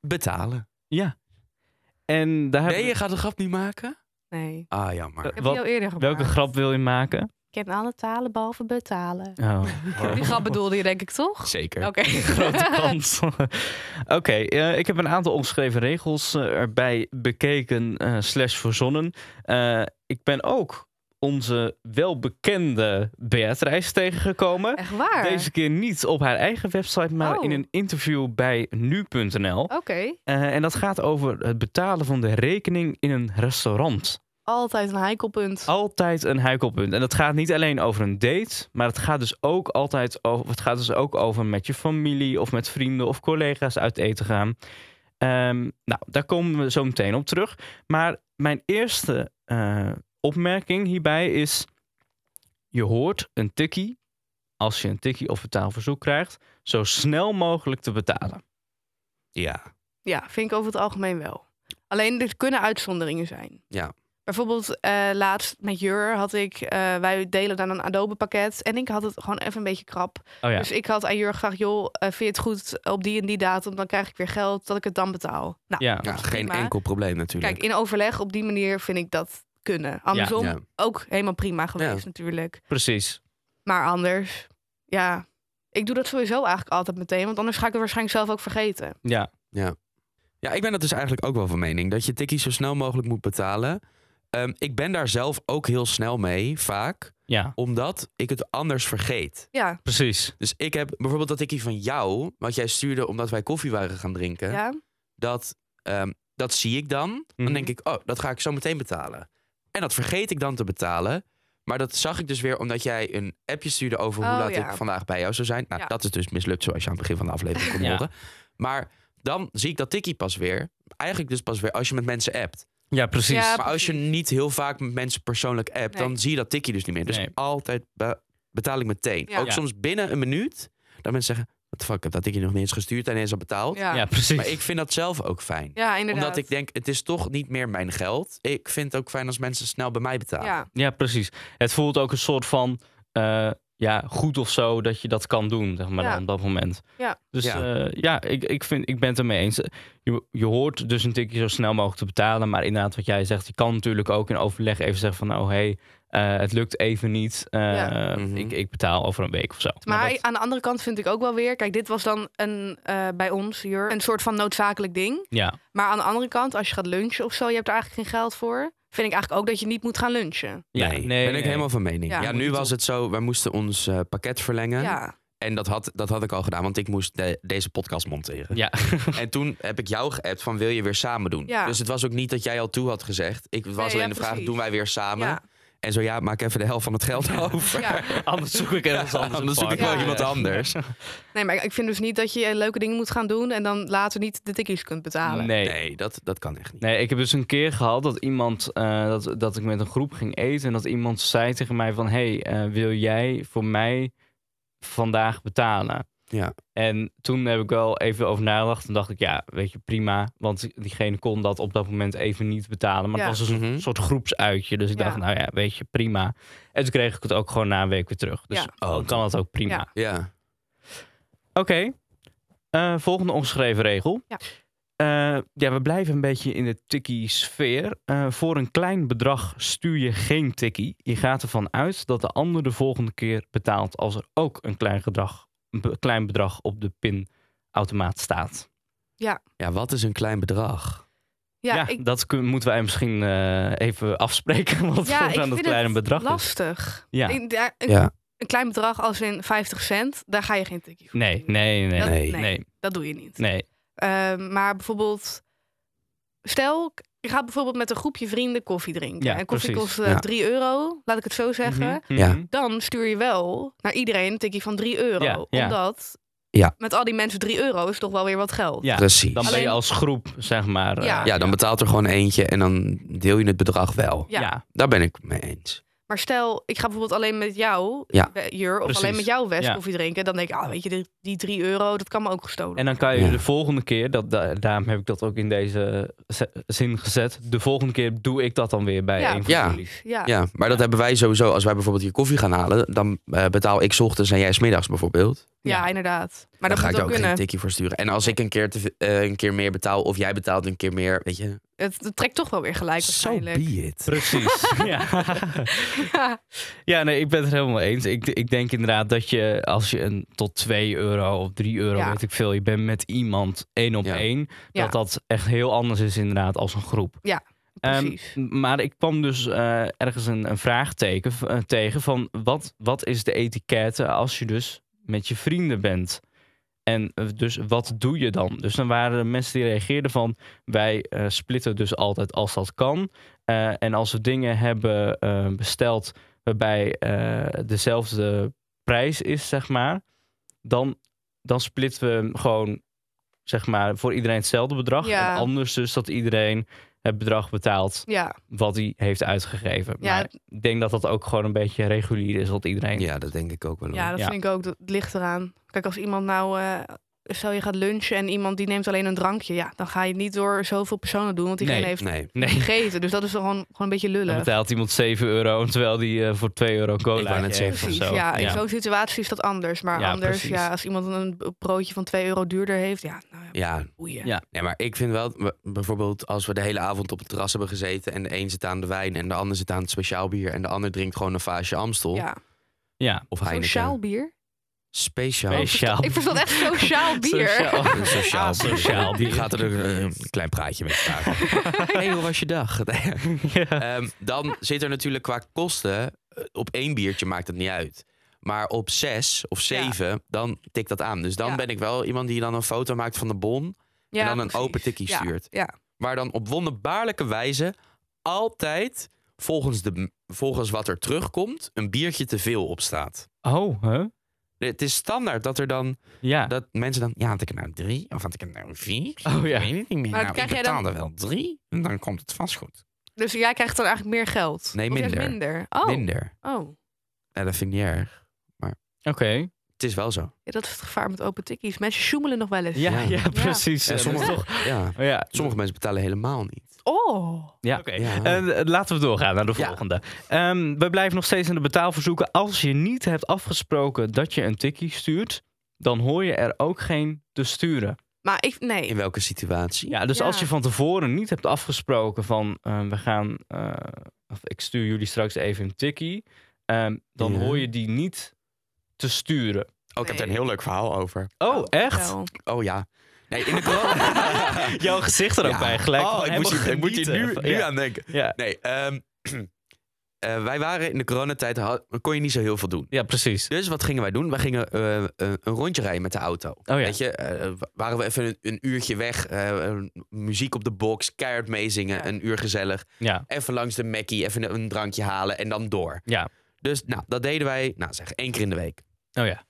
Speaker 1: betalen.
Speaker 2: Ja. En daar
Speaker 1: Nee,
Speaker 2: hebben Eh,
Speaker 1: je gaat de grap niet maken?
Speaker 3: Nee.
Speaker 1: Ah, jammer.
Speaker 3: Ik heb
Speaker 2: Wat-
Speaker 3: die al eerder
Speaker 2: we-
Speaker 3: gemaakt.
Speaker 2: Welke grap wil je maken?
Speaker 3: Ik ken alle talen behalve betalen.
Speaker 2: Oh.
Speaker 3: Die grap bedoelde je denk ik toch?
Speaker 1: Zeker.
Speaker 3: Oké.
Speaker 2: [laughs]
Speaker 3: [laughs]
Speaker 2: Grote kans. [laughs] Oké, eh, ik heb een aantal ongeschreven regels eh, erbij bekeken eh, slash verzonnen. Eh, ik ben ook onze welbekende Beatrice tegengekomen.
Speaker 3: Echt waar?
Speaker 2: Deze keer niet op haar eigen website, maar
Speaker 3: Oh.
Speaker 2: in een interview bij nu.nl.
Speaker 3: Oké.
Speaker 2: Eh, en dat gaat over het betalen van de rekening in een restaurant.
Speaker 3: Altijd een heikelpunt.
Speaker 2: Altijd een heikelpunt. En dat gaat niet alleen over een date, maar het gaat dus ook altijd over, het gaat dus ook over met je familie of met vrienden of collega's uit eten gaan. Ehm, nou, daar komen we zo meteen op terug. Maar mijn eerste eh, opmerking hierbij is: je hoort een tikkie als je een tikkie of betaalverzoek krijgt, zo snel mogelijk te betalen.
Speaker 1: Ja.
Speaker 3: Ja, vind ik over het algemeen wel. Alleen, dit kunnen uitzonderingen zijn.
Speaker 1: Ja.
Speaker 3: Bijvoorbeeld, eh, laatst met Jur had ik... eh, wij delen dan een Adobe pakket. En ik had het gewoon even een beetje krap.
Speaker 2: Oh ja.
Speaker 3: Dus ik had aan Jur gevraagd... joh, eh, vind je het goed op die en die datum? Dan krijg ik weer geld dat ik het dan betaal. Nou,
Speaker 2: ja.
Speaker 1: Nou, geen
Speaker 3: prima.
Speaker 1: enkel probleem natuurlijk.
Speaker 3: kijk, in overleg op die manier vind ik dat kunnen. Andersom
Speaker 1: Ja.
Speaker 3: ook helemaal prima geweest
Speaker 1: Ja.
Speaker 3: natuurlijk.
Speaker 2: Precies.
Speaker 3: Maar anders, ja... Ik doe dat sowieso eigenlijk altijd meteen. Want anders ga ik het waarschijnlijk zelf ook vergeten.
Speaker 2: Ja,
Speaker 1: Ja, ik ben dat dus eigenlijk ook wel van mening. Dat je tikkie zo snel mogelijk moet betalen. Ehm, ik ben daar zelf ook heel snel mee, vaak.
Speaker 2: ja,
Speaker 1: Omdat ik het anders vergeet.
Speaker 3: Ja,
Speaker 2: precies.
Speaker 1: Dus ik heb bijvoorbeeld dat tikkie van jou, wat jij stuurde omdat wij koffie waren gaan drinken.
Speaker 3: ja.
Speaker 1: Dat, ehm, dat zie ik dan.
Speaker 2: Mhm.
Speaker 1: Dan denk ik, oh, dat ga ik zo meteen betalen. En dat vergeet ik dan te betalen. Maar dat zag ik dus weer omdat jij een appje stuurde over hoe
Speaker 3: Oh,
Speaker 1: laat
Speaker 3: ja.
Speaker 1: ik vandaag bij jou zou zijn. Nou,
Speaker 3: Ja.
Speaker 1: dat is dus mislukt zoals je aan het begin van de aflevering kon
Speaker 2: Ja.
Speaker 1: horen. Maar dan zie ik dat tikkie pas weer. Eigenlijk dus pas weer als je met mensen appt.
Speaker 2: Ja, precies.
Speaker 3: Ja,
Speaker 1: maar als je
Speaker 3: precies.
Speaker 1: niet heel vaak met mensen persoonlijk appt,
Speaker 3: Nee.
Speaker 1: dan zie je dat tikkie dus niet meer. Dus
Speaker 2: Nee.
Speaker 1: altijd be- betaal ik meteen.
Speaker 3: Ja.
Speaker 1: Ook
Speaker 2: Ja.
Speaker 1: soms binnen een minuut. Dat mensen zeggen, wat de fuck, ik heb dat tikkie nog niet eens gestuurd en eens al betaald.
Speaker 3: Ja,
Speaker 2: Ja,
Speaker 3: ja.
Speaker 2: precies.
Speaker 1: Maar ik vind dat zelf ook fijn.
Speaker 3: inderdaad.
Speaker 1: Omdat ik denk, het is toch niet meer mijn geld. Ik vind het ook fijn als mensen snel bij mij betalen.
Speaker 3: Ja,
Speaker 2: Ja, precies. Het voelt ook een soort van eh, ja, goed of zo dat je dat kan doen, zeg maar,
Speaker 3: Ja.
Speaker 2: dan op dat moment.
Speaker 3: Ja.
Speaker 2: Dus
Speaker 1: Ja.
Speaker 2: ja, ja ik, ik, vind, ik ben het ermee eens. Je, je hoort dus een tikje zo snel mogelijk te betalen. Maar inderdaad, wat jij zegt, je kan natuurlijk ook in overleg even zeggen van... nou, hé, hey, het lukt even niet. eh,
Speaker 3: Ja.
Speaker 1: Mhm.
Speaker 2: ik, ik betaal over een week of zo.
Speaker 1: Nou,
Speaker 3: maar
Speaker 2: dat-
Speaker 3: aan de andere kant vind ik ook wel weer... Kijk, dit was dan een, eh, bij ons hier een soort van noodzakelijk ding.
Speaker 2: ja,
Speaker 3: Maar aan de andere kant, als je gaat lunchen of zo... je hebt er eigenlijk geen geld voor... vind ik eigenlijk ook dat je niet moet gaan lunchen.
Speaker 2: ja,
Speaker 1: nee, ben ik helemaal van mening. Ja,
Speaker 3: Ja.
Speaker 1: nu was het zo, wij moesten ons eh, pakket verlengen.
Speaker 3: Ja,
Speaker 1: En dat had, dat had ik al gedaan, want ik moest de- deze podcast monteren.
Speaker 2: Ja,
Speaker 1: [laughs] En toen heb ik jou geappt van wil je weer samen doen.
Speaker 3: Ja.
Speaker 1: Dus het was ook niet dat jij al toe had gezegd. Ik het was
Speaker 3: Nee,
Speaker 1: alleen de
Speaker 3: ja,
Speaker 1: vraag,
Speaker 3: precies.
Speaker 1: doen wij weer samen?
Speaker 3: ja.
Speaker 1: En zo ja, maak even de helft van het geld over.
Speaker 3: Ja.
Speaker 2: [laughs] Anders zoek ik ergens anders.
Speaker 1: [laughs]
Speaker 2: een
Speaker 1: Anders zoek ik wel
Speaker 2: partner.
Speaker 3: Ja.
Speaker 1: iemand anders.
Speaker 3: Nee, maar ik vind dus niet dat je eh, leuke dingen moet gaan doen en dan later niet de tikkies kunt betalen.
Speaker 2: Nee.
Speaker 1: Nee, dat, dat kan echt niet.
Speaker 2: Nee, ik heb dus een keer gehad dat iemand eh, dat, dat ik met een groep ging eten en dat iemand zei tegen mij van hey, eh, wil jij voor mij vandaag betalen?
Speaker 1: Ja.
Speaker 2: En toen heb ik wel even over nagedacht en dacht ik ja, weet je, prima, want diegene kon dat op dat moment even niet betalen, maar
Speaker 3: Ja.
Speaker 2: het was dus een
Speaker 1: Mhm.
Speaker 2: soort groepsuitje, dus ik
Speaker 3: Ja.
Speaker 2: dacht nou ja, weet je, prima. En toen kreeg ik het ook gewoon na een week weer terug. Dus
Speaker 3: Ja.
Speaker 1: Oh,
Speaker 2: dan kan dat ook prima.
Speaker 3: Ja.
Speaker 1: Ja.
Speaker 2: Oké. Eh, volgende ongeschreven regel.
Speaker 3: Ja.
Speaker 2: Eh, ja, we blijven een beetje in de tikkie-sfeer. Eh, voor een klein bedrag stuur je geen tikkie. Je gaat ervan uit dat de ander de volgende keer betaalt als er ook een klein, gedrag, een be- klein bedrag op de pinautomaat staat.
Speaker 1: ja, wat is een klein bedrag?
Speaker 3: Ja,
Speaker 2: [laughs]
Speaker 3: ik,
Speaker 2: dat kun- moeten wij misschien eh, even afspreken. [laughs] Wat
Speaker 3: ja,
Speaker 2: voor
Speaker 3: ik
Speaker 2: aan
Speaker 3: vind
Speaker 2: dat kleine
Speaker 3: het
Speaker 2: bedrag is.
Speaker 3: lastig.
Speaker 2: Ja.
Speaker 3: Ik- daar- ik-
Speaker 1: Ja.
Speaker 3: Een klein bedrag als in 50 cent, daar ga je geen tikkie voor
Speaker 2: Nee,
Speaker 3: doen.
Speaker 2: nee, nee,
Speaker 3: Dat-
Speaker 2: nee,
Speaker 1: nee.
Speaker 2: nee, nee,
Speaker 3: Dat doe je niet. Ehm, maar bijvoorbeeld, stel, je gaat bijvoorbeeld met een groepje vrienden koffie drinken.
Speaker 2: Ja,
Speaker 3: en koffie
Speaker 2: precies.
Speaker 3: kost eh,
Speaker 1: Ja.
Speaker 3: 3 euro, laat ik het zo zeggen.
Speaker 2: Mhm,
Speaker 1: Ja.
Speaker 2: mhm.
Speaker 3: Dan stuur je wel naar iedereen een tikkie van 3 euro.
Speaker 2: Ja, ja.
Speaker 3: Omdat
Speaker 1: Ja.
Speaker 3: met al die mensen 3 euro is toch wel weer wat geld.
Speaker 2: Ja,
Speaker 1: Precies.
Speaker 2: Dan ben je
Speaker 3: Alleen-
Speaker 2: als groep, zeg maar.
Speaker 3: Ja.
Speaker 2: eh,
Speaker 1: ja, dan betaalt er gewoon eentje en dan deel je het bedrag wel.
Speaker 3: Ja.
Speaker 2: ja,
Speaker 1: Daar ben ik mee eens.
Speaker 3: Maar stel, ik ga bijvoorbeeld alleen met jou,
Speaker 1: Ja.
Speaker 3: eh, Jur, of
Speaker 2: Precies.
Speaker 3: alleen met jou West
Speaker 2: Ja.
Speaker 3: koffie drinken. Dan denk ik, ah, weet je, die- die 3 euro, dat kan me ook gestolen.
Speaker 2: En dan kan je
Speaker 1: Ja.
Speaker 2: de volgende keer, dat, da- daarom heb ik dat ook in deze ze- zin gezet. De volgende keer doe ik dat dan weer bij
Speaker 3: Ja,
Speaker 2: een van
Speaker 1: Ja. [laughs]
Speaker 2: jullie.
Speaker 3: worden. ja.
Speaker 1: Ja, maar dat hebben wij sowieso. Als wij bijvoorbeeld hier koffie gaan halen, dan eh, betaal ik 's ochtends en jij 's middags bijvoorbeeld.
Speaker 3: Ja,
Speaker 2: Ja.
Speaker 3: inderdaad. Maar
Speaker 1: Maar dan
Speaker 3: dat
Speaker 1: ga
Speaker 3: moet
Speaker 1: ik daar
Speaker 3: ook
Speaker 1: ook geen
Speaker 3: kunnen.
Speaker 1: tikkie voor sturen. En als
Speaker 3: Nee.
Speaker 1: ik een keer, te, ve- eh, een keer meer betaal of jij betaalt een keer meer, weet je.
Speaker 3: Het, het trekt toch wel weer gelijk
Speaker 1: So
Speaker 3: waarschijnlijk.
Speaker 1: be it.
Speaker 2: Precies.
Speaker 3: [laughs]
Speaker 2: ja.
Speaker 3: Ja.
Speaker 2: ja, nee, ik ben het helemaal eens. Ik, ik denk inderdaad dat je als je een tot 2 euro of 3 euro,
Speaker 3: Ja.
Speaker 2: weet ik veel, je bent met iemand één op
Speaker 1: Ja.
Speaker 2: één, dat
Speaker 3: Ja.
Speaker 2: dat echt heel anders is inderdaad als een groep. Ehm,
Speaker 3: Precies.
Speaker 2: maar ik kwam dus eh, ergens een, een vraagteken v- eh, tegen van wat, wat is de etiquette als je dus met je vrienden bent? En eh, dus wat doe je dan? Dus dan waren er mensen die reageerden van wij eh, splitten dus altijd als dat kan. Eh, en als we dingen hebben eh, besteld waarbij eh, dezelfde prijs is, zeg maar, dan, dan splitten we hem gewoon zeg maar voor iedereen hetzelfde bedrag.
Speaker 3: Ja.
Speaker 2: En anders dus dat iedereen het bedrag betaalt
Speaker 3: ja,
Speaker 2: wat hij heeft uitgegeven.
Speaker 3: Ja.
Speaker 2: Maar ik denk dat dat ook gewoon een beetje regulier is wat iedereen.
Speaker 1: Ja, dat denk ik ook wel. hoor.
Speaker 3: ja, dat
Speaker 2: Ja.
Speaker 3: vind ik ook. Dat ligt eraan. Kijk, als iemand nou... eh stel, je gaat lunchen en iemand die neemt alleen een drankje. Ja, dan ga je het niet door zoveel personen doen. Want diegene
Speaker 2: Nee,
Speaker 3: heeft
Speaker 1: Nee,
Speaker 2: Nee, [laughs]
Speaker 3: gegeten. Dus dat is wel gewoon, gewoon een beetje
Speaker 2: dan
Speaker 3: lullig.
Speaker 2: betaalt iemand 7 euro terwijl die eh, voor 2 euro
Speaker 1: Ik
Speaker 2: cola
Speaker 1: wou net
Speaker 2: heeft of
Speaker 3: Precies,
Speaker 2: zo.
Speaker 3: ja. In zo'n situatie is dat anders. Maar
Speaker 2: Ja,
Speaker 3: anders,
Speaker 2: precies.
Speaker 3: ja, als iemand een broodje van 2 euro duurder heeft... Ja, nou ja,
Speaker 1: ja.
Speaker 3: boeien.
Speaker 2: Ja.
Speaker 1: Nee, maar ik vind wel, we- bijvoorbeeld als we de hele avond op het terras hebben gezeten... en de een zit aan de wijn en de ander zit aan het speciaal bier... en de ander drinkt gewoon een vaasje Amstel
Speaker 3: Ja.
Speaker 2: ja.
Speaker 1: of Heineken.
Speaker 3: Sociaal bier?
Speaker 1: Speciaal.
Speaker 2: Speciaal. Sjaal.
Speaker 3: Ik verstond echt sociaal bier.
Speaker 2: Oh. Sociaal.
Speaker 3: [laughs]
Speaker 1: Een sociaal,
Speaker 2: Ah, sociaal
Speaker 1: Die
Speaker 2: bier.
Speaker 1: gaat er een, een klein praatje mee maken. [laughs] hey, hoe was je [laughs] dag?
Speaker 2: [laughs] Ja.
Speaker 1: Ehm, dan zit er natuurlijk qua kosten... eh, op één biertje maakt het niet uit. Maar op zes of zeven, dan tikt dat aan. Dus dan
Speaker 3: Ja.
Speaker 1: ben ik wel iemand die dan een foto maakt van de bon...
Speaker 3: Ja,
Speaker 1: en dan een
Speaker 3: precies.
Speaker 1: open tikkie
Speaker 3: Ja,
Speaker 1: stuurt.
Speaker 3: ja.
Speaker 1: Waar dan op wonderbaarlijke wijze altijd... Volgens, de, volgens wat er terugkomt, een biertje te veel op staat.
Speaker 2: Oh, hè?
Speaker 1: Het is standaard dat er dan
Speaker 2: Ja.
Speaker 1: Dat mensen dan, ja, had ik er nou drie of had ik er nou vier?
Speaker 2: Oh, ja.
Speaker 1: Ik weet het niet meer.
Speaker 3: Maar
Speaker 1: nou,
Speaker 3: krijg
Speaker 1: ik
Speaker 3: jij dan-
Speaker 1: betaalde wel drie en dan komt het vast goed.
Speaker 3: Dus jij krijgt dan eigenlijk meer geld?
Speaker 1: Nee,
Speaker 3: Of juist
Speaker 1: minder.
Speaker 3: minder. Oh.
Speaker 1: Minder.
Speaker 3: oh.
Speaker 1: Ja, dat vind ik niet erg.
Speaker 2: Oké.
Speaker 1: Het is wel zo.
Speaker 3: Ja, dat is het gevaar met open tikkies. Mensen sjoemelen nog wel eens.
Speaker 2: Ja, ja,
Speaker 1: Ja.
Speaker 2: precies.
Speaker 1: Ja,
Speaker 2: Eh,
Speaker 1: sommige,
Speaker 2: dat is
Speaker 1: ja,
Speaker 2: toch- Ja.
Speaker 1: sommige mensen betalen helemaal niet.
Speaker 3: Oh.
Speaker 2: Ja.
Speaker 1: Oké. Ja.
Speaker 2: Eh, laten we doorgaan naar de
Speaker 1: Ja.
Speaker 2: volgende. Ehm, we blijven nog steeds in de betaalverzoeken. Als je niet hebt afgesproken dat je een tikkie stuurt, dan hoor je er ook geen te sturen.
Speaker 3: Maar ik, nee.
Speaker 1: In welke situatie?
Speaker 2: Ja, dus
Speaker 3: Ja.
Speaker 2: als je van tevoren niet hebt afgesproken van eh, we gaan, eh, of ik stuur jullie straks even een tikkie, ehm, dan
Speaker 1: Ja.
Speaker 2: hoor je die niet te sturen.
Speaker 1: Oh, ik heb
Speaker 3: Nee.
Speaker 1: daar een heel leuk verhaal over.
Speaker 2: Oh, echt?
Speaker 3: Wel.
Speaker 1: Oh ja. Nee, in de [laughs] corona.
Speaker 2: Jouw gezicht er ook
Speaker 1: Ja.
Speaker 2: bij gelijk.
Speaker 1: Oh,
Speaker 2: van
Speaker 1: ik moet,
Speaker 2: helemaal
Speaker 1: hier, ik moet hier nu,
Speaker 2: genieten.
Speaker 1: nu
Speaker 2: Ja.
Speaker 1: aan denken.
Speaker 2: Ja.
Speaker 1: Nee, ehm, [clears throat] eh, wij waren in de coronatijd, had- kon je niet zo heel veel doen.
Speaker 2: Ja, precies.
Speaker 1: Dus wat gingen wij doen? Wij gingen eh, eh, een rondje rijden met de auto.
Speaker 2: Oh ja.
Speaker 1: Weet je, eh, wa- waren we even een, een uurtje weg, eh, eh, muziek op de box, keihard meezingen,
Speaker 3: Ja.
Speaker 1: een uur gezellig.
Speaker 2: Ja,
Speaker 1: Even langs de Mackie, even een, een drankje halen en dan door.
Speaker 2: ja.
Speaker 1: Dus nou, dat deden wij, nou zeg, één keer in de week.
Speaker 2: Oh ja.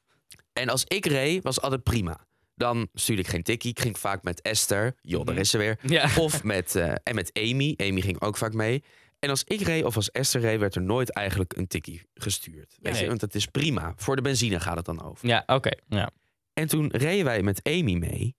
Speaker 1: En als ik reed, was altijd prima. Dan stuurde ik geen tikkie. Ik ging vaak met Esther. Joh,
Speaker 2: Mhm.
Speaker 1: daar is ze weer.
Speaker 2: Ja.
Speaker 1: [laughs] Of met, eh, en met Amy. Amy ging ook vaak mee. En als ik reed of als Esther reed, werd er nooit eigenlijk een tikkie gestuurd. Weet je,
Speaker 2: Nee.
Speaker 1: want dat is prima. Voor de benzine gaat het dan over.
Speaker 2: Ja, oké. Ja.
Speaker 1: En toen reden wij met Amy mee.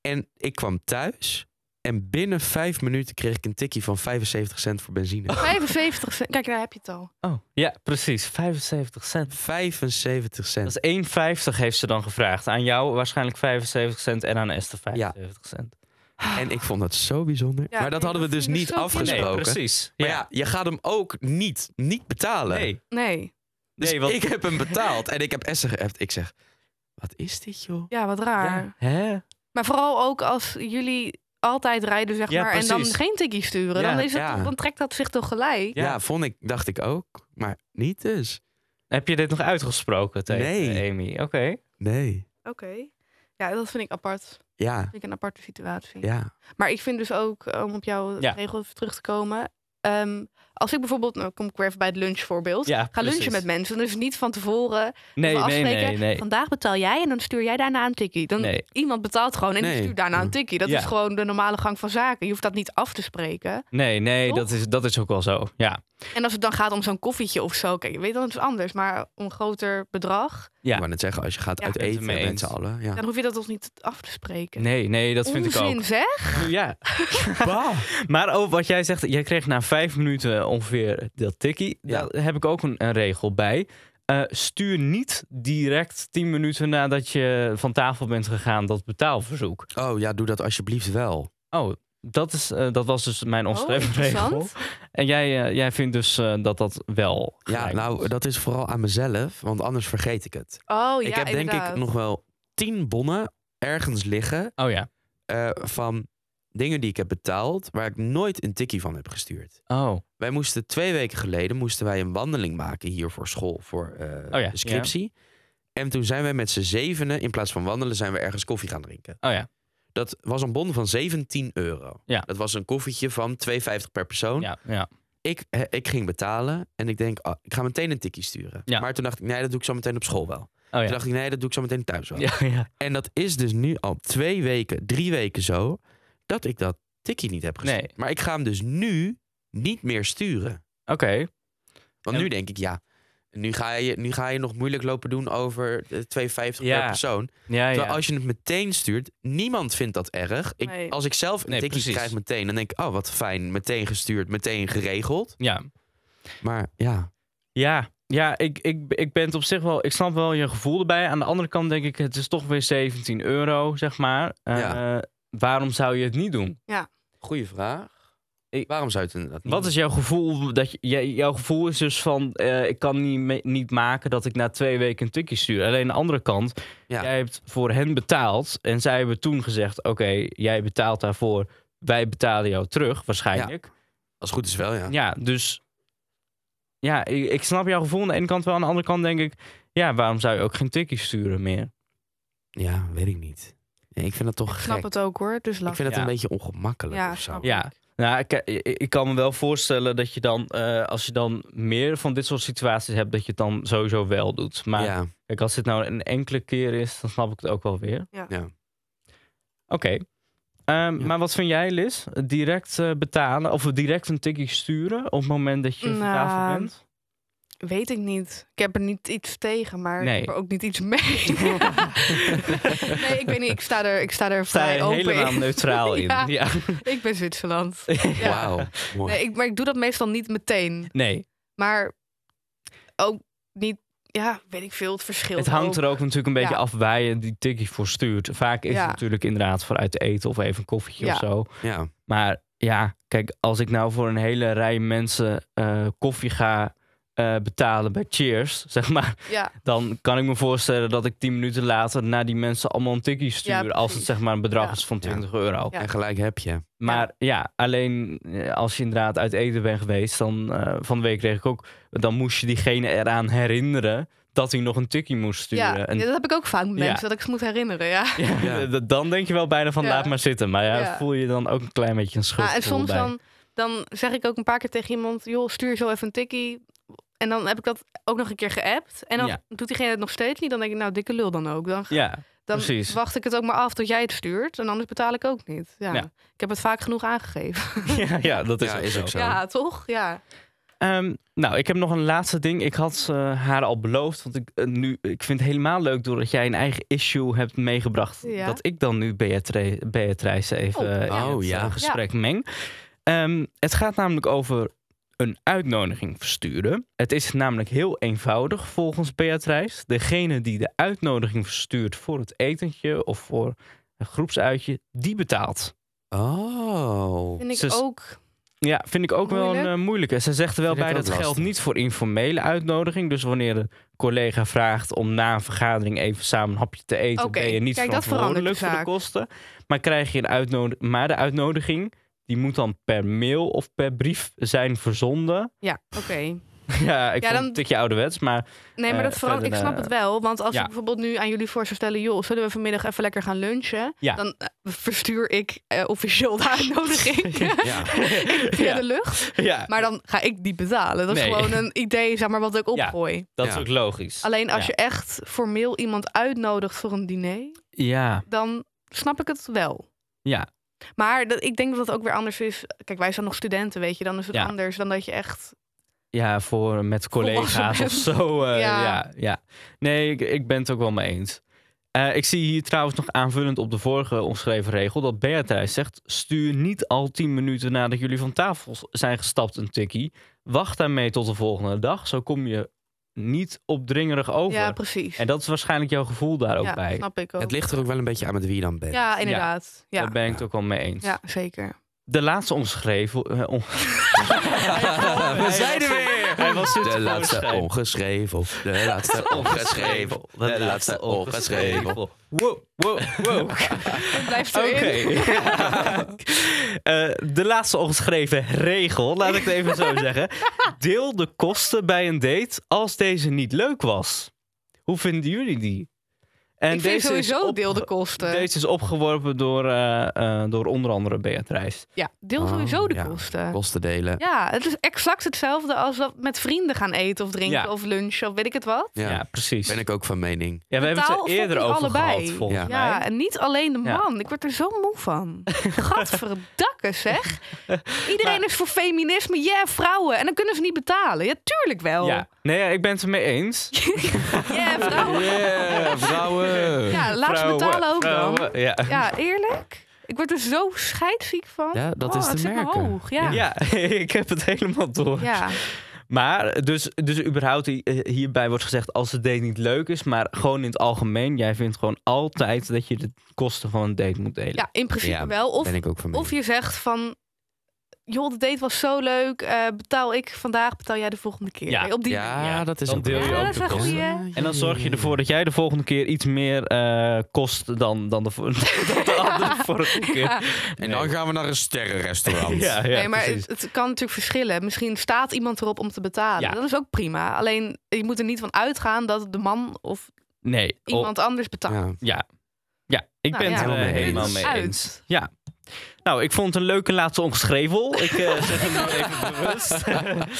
Speaker 1: En ik kwam thuis. En binnen vijf minuten kreeg ik een tikkie van 75 cent voor benzine.
Speaker 2: [laughs]
Speaker 3: 75 cent. Kijk, daar heb je het al.
Speaker 2: Oh, ja, precies. 75 cent.
Speaker 1: 75 cent.
Speaker 2: Dat is 1,50 heeft ze dan gevraagd. Aan jou waarschijnlijk 75 cent en aan Esther 75 cent.
Speaker 1: En ik vond dat zo bijzonder.
Speaker 3: Ja,
Speaker 1: maar dat
Speaker 3: nee,
Speaker 1: hadden we dus
Speaker 3: dat vind ik
Speaker 1: niet
Speaker 3: zo
Speaker 1: afgesproken.
Speaker 2: Nee, precies.
Speaker 1: Maar ja, je gaat hem ook niet, niet betalen.
Speaker 2: Nee.
Speaker 3: Nee.
Speaker 1: Dus
Speaker 2: Nee, want-
Speaker 1: ik heb hem betaald en ik heb Esther geappt. Ik zeg, wat is dit joh?
Speaker 3: Ja, wat raar.
Speaker 2: Ja. Hè?
Speaker 3: Maar vooral ook als jullie altijd rijden, zeg
Speaker 2: Ja,
Speaker 3: maar, en dan
Speaker 2: precies.
Speaker 3: geen tikkie sturen.
Speaker 2: Ja,
Speaker 3: dan, is het,
Speaker 1: ja.
Speaker 3: dan trekt dat zich toch gelijk.
Speaker 1: Ja.
Speaker 2: Ja.
Speaker 1: vond ik, dacht ik ook. Maar niet dus.
Speaker 2: Heb je dit nog uitgesproken tegen
Speaker 1: Nee.
Speaker 2: Amy? Oké.
Speaker 1: Nee.
Speaker 3: Oké. Ja, dat vind ik apart. Dat
Speaker 1: Ja,
Speaker 3: vind ik een aparte situatie.
Speaker 1: ja.
Speaker 3: Maar ik vind dus ook, eh, om op jouw
Speaker 2: Ja.
Speaker 3: regel even terug te komen. ehm, als ik bijvoorbeeld, nou kom ik weer even bij het lunchvoorbeeld.
Speaker 2: Ja,
Speaker 3: Ga
Speaker 2: precies.
Speaker 3: lunchen met mensen. Dus niet van tevoren
Speaker 2: Nee,
Speaker 3: even
Speaker 2: nee,
Speaker 3: afspreken.
Speaker 2: nee, nee.
Speaker 3: Vandaag betaal jij en dan stuur jij daarna een tikkie. Dan
Speaker 2: Nee.
Speaker 3: iemand betaalt gewoon en
Speaker 1: Nee.
Speaker 3: die stuurt daarna een tikkie. Dat
Speaker 2: Ja.
Speaker 3: is gewoon de normale gang van zaken. Je hoeft dat niet af te spreken.
Speaker 2: Nee, nee,
Speaker 3: Toch?
Speaker 2: dat is, dat is ook wel zo. Ja.
Speaker 3: En als het dan gaat om zo'n koffietje of zo, kijk, je weet dan het is anders. Maar om een groter bedrag,
Speaker 2: Ja.
Speaker 1: Ik wou net zeggen, als je gaat
Speaker 3: Ja,
Speaker 1: uit
Speaker 2: ik ben het
Speaker 1: eten
Speaker 2: ermee
Speaker 1: met
Speaker 2: eens.
Speaker 1: z'n allen. Ja.
Speaker 3: dan hoef je dat toch niet af te spreken.
Speaker 2: Nee, nee, dat vind
Speaker 3: Onzin,
Speaker 2: ik ook.
Speaker 3: zeg.
Speaker 2: Ja. [laughs] maar ook wat jij zegt, jij kreeg na vijf minuten ongeveer dat tikkie.
Speaker 1: Ja.
Speaker 2: Daar heb ik ook een, een regel bij. Eh, stuur niet direct tien minuten nadat je van tafel bent gegaan dat betaalverzoek.
Speaker 1: Oh ja, doe dat alsjeblieft wel.
Speaker 2: Oh, dat, is, eh, dat was dus mijn
Speaker 3: Oh,
Speaker 2: onschreven regel.
Speaker 3: interessant.
Speaker 2: En jij, eh, jij vindt dus eh, dat dat wel.
Speaker 1: Ja,
Speaker 2: gelijk
Speaker 1: nou,
Speaker 2: is.
Speaker 1: dat is vooral aan mezelf, want anders vergeet ik het.
Speaker 3: Oh ja,
Speaker 1: ik heb denk
Speaker 3: inderdaad.
Speaker 1: ik nog wel tien bonnen ergens liggen
Speaker 2: Oh ja.
Speaker 1: eh, van dingen die ik heb betaald, waar ik nooit een tikkie van heb gestuurd.
Speaker 2: Oh,
Speaker 1: Wij moesten twee weken geleden moesten wij een wandeling maken hier voor school, voor eh,
Speaker 2: ja, Oh ja.
Speaker 1: de scriptie. En toen zijn wij met z'n zevenen, in plaats van wandelen, zijn we ergens koffie gaan drinken.
Speaker 2: oh ja.
Speaker 1: Dat was een bon van 17 euro.
Speaker 2: Ja.
Speaker 1: Dat was een koffietje van 2,50 per persoon.
Speaker 2: Ja, ja.
Speaker 1: Ik, eh, ik ging betalen en ik denk, ah, ik ga meteen een tikkie sturen.
Speaker 2: Ja.
Speaker 1: Maar toen dacht ik, nee, dat doe ik zo meteen op school wel.
Speaker 2: Oh
Speaker 1: Toen
Speaker 2: ja.
Speaker 1: dacht ik, nee, dat doe ik zo meteen thuis wel.
Speaker 2: [laughs] Ja, ja.
Speaker 1: En dat is dus nu al twee weken, drie weken zo, dat ik dat tikkie niet heb gestuurd.
Speaker 2: Nee.
Speaker 1: Maar ik ga hem dus nu niet meer sturen.
Speaker 2: Oké.
Speaker 1: Want
Speaker 2: En-
Speaker 1: nu denk ik, ja, nu ga, je, nu ga je nog moeilijk lopen doen over eh, 2,50
Speaker 2: Ja,
Speaker 1: per persoon.
Speaker 2: Ja, ja.
Speaker 1: Terwijl als je het meteen stuurt, niemand vindt dat erg. Ik,
Speaker 3: Nee.
Speaker 1: Als ik zelf een
Speaker 2: Nee,
Speaker 1: tikkie
Speaker 2: precies.
Speaker 1: krijg meteen, dan denk ik, oh wat fijn, meteen gestuurd, meteen geregeld.
Speaker 2: ja.
Speaker 1: Maar ja,
Speaker 2: Ja, ja ik, ik, ik ben het op zich wel. Ik snap wel je gevoel erbij. Aan de andere kant denk ik, het is toch weer 17 euro, zeg maar. Eh,
Speaker 1: Ja.
Speaker 2: Waarom zou je het niet doen?
Speaker 1: goede vraag.
Speaker 2: Ik-
Speaker 1: Waarom zou het inderdaad niet
Speaker 2: Wat is jouw gevoel? Dat je, jij- jouw gevoel is dus van, eh, ik kan niet, me- niet maken dat ik na twee weken een tikkie stuur. Alleen aan de andere kant,
Speaker 1: Ja.
Speaker 2: jij hebt voor hen betaald. En zij hebben toen gezegd, oké, jij betaalt daarvoor. Wij betalen jou terug, waarschijnlijk.
Speaker 1: Als het goed is wel, ja.
Speaker 2: Ja, dus. Ja, ik, ik snap jouw gevoel aan de ene kant wel. Aan de andere kant denk ik. Ja, waarom zou je ook geen tikkie sturen meer?
Speaker 1: Ja, weet ik niet. Nee, ik vind dat toch
Speaker 3: Ik
Speaker 1: gek.
Speaker 3: snap het ook hoor, Dus het is
Speaker 1: Ik vind
Speaker 3: lastig.
Speaker 1: het
Speaker 2: Ja.
Speaker 1: een beetje ongemakkelijk
Speaker 3: Ja,
Speaker 1: of zo.
Speaker 3: snap ik.
Speaker 2: Ja. Nou, ik, ik, ik kan me wel voorstellen dat je dan. eh, als je dan meer van dit soort situaties hebt. dat je het dan sowieso wel doet. Maar
Speaker 1: Ja.
Speaker 2: kijk, als dit nou een enkele keer is. dan snap ik het ook wel weer.
Speaker 3: Ja.
Speaker 1: Ja.
Speaker 2: Oké. Ehm,
Speaker 1: Ja.
Speaker 2: Maar wat vind jij, Liz? Direct eh, betalen of direct een tikkie sturen op het moment dat je van tafel
Speaker 3: Nou,
Speaker 2: bent?
Speaker 3: Weet ik niet. Ik heb er niet iets tegen, maar
Speaker 2: Nee.
Speaker 3: ik heb er ook niet iets
Speaker 2: [laughs]
Speaker 3: mee. [laughs] [laughs] nee, ik weet niet. Ik sta er, ik sta er
Speaker 2: Sta
Speaker 3: vrij
Speaker 2: je
Speaker 3: open
Speaker 2: helemaal
Speaker 3: in.
Speaker 2: neutraal in?
Speaker 3: Ja.
Speaker 2: ja.
Speaker 3: [laughs] Ik ben Zwitserland. Ja. [laughs]
Speaker 1: Wauw.
Speaker 2: Oh.
Speaker 1: Mooi.
Speaker 3: Nee, ik, maar ik doe dat meestal niet meteen.
Speaker 2: Nee.
Speaker 3: Maar ook niet, ja, weet ik veel, het verschil.
Speaker 2: Het hangt
Speaker 3: ook.
Speaker 2: er ook natuurlijk een beetje
Speaker 3: Ja.
Speaker 2: af waar je die tikkie voor stuurt. Vaak is
Speaker 3: Ja.
Speaker 2: het natuurlijk inderdaad voor uit eten of even een koffietje of
Speaker 3: Ja.
Speaker 2: zo.
Speaker 1: Ja.
Speaker 2: Maar ja, kijk, als ik nou voor een hele rij mensen eh, koffie ga eh, betalen bij Cheers, [laughs] zeg maar,
Speaker 3: Ja,
Speaker 2: dan kan ik me voorstellen dat ik 10 minuten later naar die mensen allemaal een tikkie stuur. als het
Speaker 3: precies.
Speaker 2: zeg maar een bedrag
Speaker 3: Ja.
Speaker 2: is van
Speaker 1: Ja.
Speaker 2: 20 euro.
Speaker 3: Ja.
Speaker 1: En gelijk heb je.
Speaker 2: Maar ja, alleen eh, als je inderdaad uit eten bent geweest, dan eh, van de week kreeg ik ook, dan moest je diegene eraan herinneren dat hij nog een tikkie moest sturen.
Speaker 3: ja.
Speaker 2: En-
Speaker 3: ja, dat heb ik ook vaak met
Speaker 2: eh, Ja.
Speaker 3: mensen, dat ik ze moet herinneren. Ja.
Speaker 2: [laughs] Ja,
Speaker 1: Ja.
Speaker 2: d- dan denk je wel bijna van
Speaker 3: Ja.
Speaker 2: laat maar zitten. Maar ja,
Speaker 3: Ja.
Speaker 2: voel je dan ook een klein beetje een schuld.
Speaker 3: Ja, Ah, en soms dan, dan zeg ik ook een paar keer tegen iemand, joh, stuur zo even een tikkie. En dan heb ik dat ook nog een keer geappt. En dan
Speaker 2: Ja.
Speaker 3: doet diegene het nog steeds niet. Dan denk ik, nou, dikke lul dan ook. Dan,
Speaker 2: Ja, [laughs]
Speaker 3: dan
Speaker 2: precies.
Speaker 3: wacht ik het ook maar af tot jij het stuurt. En anders betaal ik ook niet. Ja.
Speaker 2: Ja.
Speaker 3: Ik heb het vaak genoeg aangegeven.
Speaker 2: ja, ja, dat is
Speaker 1: Ja,
Speaker 2: ook
Speaker 1: is
Speaker 2: zo.
Speaker 1: ook zo.
Speaker 3: [laughs] Ja, toch? Ja.
Speaker 2: Ehm, nou, ik heb nog een laatste ding. Ik had eh, haar al beloofd. Want ik, eh, nu, ik vind het helemaal leuk doordat jij een eigen issue hebt meegebracht.
Speaker 3: Ja.
Speaker 2: Dat ik dan nu Beatrice, Beatrice even
Speaker 3: Oh,
Speaker 2: eh, in
Speaker 1: ja.
Speaker 2: het
Speaker 1: Oh, ja.
Speaker 2: eh, gesprek meng. Ehm, het gaat namelijk over een uitnodiging versturen. Het is namelijk heel eenvoudig volgens Beatrice. Degene die de uitnodiging verstuurt voor het etentje of voor een groepsuitje, die betaalt.
Speaker 1: Oh.
Speaker 3: Vind ik
Speaker 2: Ze is-
Speaker 3: ook.
Speaker 2: Ja, vind ik ook wel
Speaker 3: Moeilijk.
Speaker 2: een eh, moeilijke. Ze zegt er wel
Speaker 1: Vind ik
Speaker 2: bij
Speaker 1: ook
Speaker 2: dat geldt
Speaker 1: lastig.
Speaker 2: niet voor informele uitnodiging. Dus wanneer een collega vraagt om na een vergadering even samen een hapje te eten,
Speaker 3: Oké,
Speaker 2: ben je niet
Speaker 3: kijk, dat verandert
Speaker 2: verantwoordelijk
Speaker 3: de
Speaker 2: voor de
Speaker 3: zaak.
Speaker 2: kosten. Maar krijg je een uitnodiging, maar de uitnodiging die moet dan per mail of per brief zijn verzonden.
Speaker 3: Ja, oké.
Speaker 2: [laughs] ja,
Speaker 3: Ja,
Speaker 2: ik vond
Speaker 3: dan-
Speaker 2: het een tikje
Speaker 3: [laughs]
Speaker 2: ouderwets, maar
Speaker 3: Nee, maar
Speaker 2: Eh,
Speaker 3: dat verandert. Ik
Speaker 2: verder,
Speaker 3: snap het wel. Want als
Speaker 2: ja.
Speaker 3: ik bijvoorbeeld nu aan jullie voor zou stellen, joh, zullen we vanmiddag even lekker gaan lunchen?
Speaker 2: Ja.
Speaker 3: Dan eh, verstuur ik eh, officieel
Speaker 2: [laughs]
Speaker 3: de uitnodiging
Speaker 1: Ja.
Speaker 3: [laughs] via
Speaker 2: ja,
Speaker 3: de lucht.
Speaker 2: ja,
Speaker 3: Maar dan ga ik die betalen. Dat is
Speaker 2: Nee.
Speaker 3: gewoon een idee, zeg maar, wat ik
Speaker 2: Ja.
Speaker 3: opgooi.
Speaker 2: dat is
Speaker 1: Ja.
Speaker 2: ook logisch.
Speaker 3: Alleen als
Speaker 2: Ja.
Speaker 3: je echt formeel iemand uitnodigt voor een diner,
Speaker 2: Ja,
Speaker 3: dan snap ik het wel.
Speaker 2: ja,
Speaker 3: Maar dat, ik denk dat het ook weer anders is. Kijk, wij zijn nog studenten, weet je. Dan is het
Speaker 2: Ja.
Speaker 3: anders dan dat je echt...
Speaker 2: Ja, voor met collega's
Speaker 3: Volwassen
Speaker 2: of zo. eh, ja.
Speaker 3: Ja.
Speaker 2: Ja, Nee, ik, ik ben het ook wel mee eens. Eh, ik zie hier trouwens nog aanvullend op de vorige omschreven regel dat Beatrice zegt: stuur niet al tien minuten nadat jullie van tafel s- zijn gestapt een tikkie. Wacht daarmee tot de volgende dag. Zo kom je niet opdringerig over.
Speaker 3: Ja, precies.
Speaker 2: en dat is waarschijnlijk jouw gevoel daar ook
Speaker 3: ja,
Speaker 2: bij.
Speaker 3: snap ik ook.
Speaker 1: Het ligt er ook wel een beetje aan met wie je dan bent.
Speaker 3: Ja, inderdaad. Ja,
Speaker 2: Daar ben ik het ook wel mee eens.
Speaker 3: ja
Speaker 2: [laughs]
Speaker 3: zeker.
Speaker 2: De laatste omschreven. eh, om-
Speaker 1: [laughs] We zijn er
Speaker 3: [laughs]
Speaker 2: weer! Hij was
Speaker 1: De
Speaker 2: zitten
Speaker 1: laatste
Speaker 2: voorschrijven.
Speaker 1: ongeschreven. De
Speaker 2: [laughs]
Speaker 1: laatste ongeschreven. De laatste ongeschreven.
Speaker 2: Wow, wow, wow.
Speaker 3: Het blijft
Speaker 2: Oké.
Speaker 3: erin. [laughs]
Speaker 2: Eh, de laatste ongeschreven regel, laat ik het even
Speaker 3: [laughs]
Speaker 2: zo zeggen. Deel de kosten bij een date als deze niet leuk was. Hoe vinden jullie die? En
Speaker 3: ik vind
Speaker 2: is
Speaker 3: sowieso
Speaker 2: op-
Speaker 3: deel de kosten.
Speaker 2: Deze is opgeworpen door, eh, eh, door onder andere Beatrice.
Speaker 3: Ja, deel
Speaker 1: Oh,
Speaker 3: sowieso de
Speaker 1: ja.
Speaker 3: kosten.
Speaker 1: Kosten delen.
Speaker 3: Ja, het is exact hetzelfde als dat met vrienden gaan eten of drinken
Speaker 2: Ja.
Speaker 3: of lunchen of weet ik het wat.
Speaker 2: Ja,
Speaker 1: Ja,
Speaker 2: precies.
Speaker 1: ben ik ook van mening.
Speaker 2: Ja, we hebben het er
Speaker 3: Totaal
Speaker 2: eerder
Speaker 3: fucking
Speaker 2: over
Speaker 3: allebei.
Speaker 2: gehad, volgens
Speaker 1: Ja.
Speaker 3: Ja,
Speaker 2: mij.
Speaker 3: en niet alleen de
Speaker 2: Ja.
Speaker 3: man. Ik word er zo moe
Speaker 1: [laughs]
Speaker 3: van. Gadverdakke zeg. Iedereen
Speaker 2: Maar-
Speaker 3: is voor feminisme. Ja, vrouwen. En dan kunnen ze niet betalen. Ja, tuurlijk wel. Ja,
Speaker 2: Ja. Nee, ja, ik ben het ermee eens.
Speaker 3: [laughs] vrouwen.
Speaker 1: Yeah, vrouwen.
Speaker 3: Ja, laat ze
Speaker 2: Vrouwen,
Speaker 3: betalen ook dan.
Speaker 2: vrouwen, Ja.
Speaker 3: Ja, eerlijk. Ik word er zo scheidziek van.
Speaker 1: Ja, dat
Speaker 3: Oh,
Speaker 1: is
Speaker 3: het
Speaker 1: te
Speaker 3: zit me
Speaker 1: merken.
Speaker 3: hoog. Ja. Ja.
Speaker 2: Ja, [laughs] ik heb het helemaal door. Maar dus, dus überhaupt hi- eh, hierbij wordt gezegd als de date niet leuk is, maar gewoon in het algemeen, jij vindt gewoon altijd dat je de kosten van een date moet delen.
Speaker 3: ja, in principe
Speaker 1: Ja,
Speaker 3: wel. Of,
Speaker 1: ben ik ook van mening.
Speaker 3: of je zegt van... Joh, de date was zo leuk. eh, betaal ik vandaag, betaal jij de volgende keer.
Speaker 2: Ja.
Speaker 3: Nee, Op die
Speaker 1: ja,
Speaker 2: Ja,
Speaker 1: dat is
Speaker 2: dan
Speaker 1: ook
Speaker 2: deel je
Speaker 1: wel.
Speaker 2: Ja, ook dat is de een kosten.
Speaker 3: goeie.
Speaker 2: En dan zorg je ervoor dat jij de volgende keer iets meer eh, kost dan, dan de, vo- [laughs] dan de andere vorige keer.
Speaker 3: Ja.
Speaker 1: En dan gaan we naar een [laughs] sterrenrestaurant.
Speaker 2: Ja, ja,
Speaker 3: nee, maar
Speaker 2: precies.
Speaker 3: het, het kan natuurlijk verschillen. Misschien staat iemand erop om te betalen.
Speaker 2: Ja.
Speaker 3: Dat is ook prima. Alleen je moet er niet van uitgaan dat de man of
Speaker 2: nee, oh,
Speaker 3: iemand anders betaalt.
Speaker 1: Ja.
Speaker 2: ja. ja, ik
Speaker 3: Nou,
Speaker 2: ben
Speaker 3: ja.
Speaker 2: het er eh,
Speaker 1: Helemaal mee
Speaker 2: helemaal
Speaker 1: eens.
Speaker 2: mee
Speaker 3: Uit.
Speaker 2: eens. Ja. Nou, ik vond het een leuke laatste ongeschrevel. Ik
Speaker 3: [laughs]
Speaker 2: eh, zeg het nu even bewust. [laughs]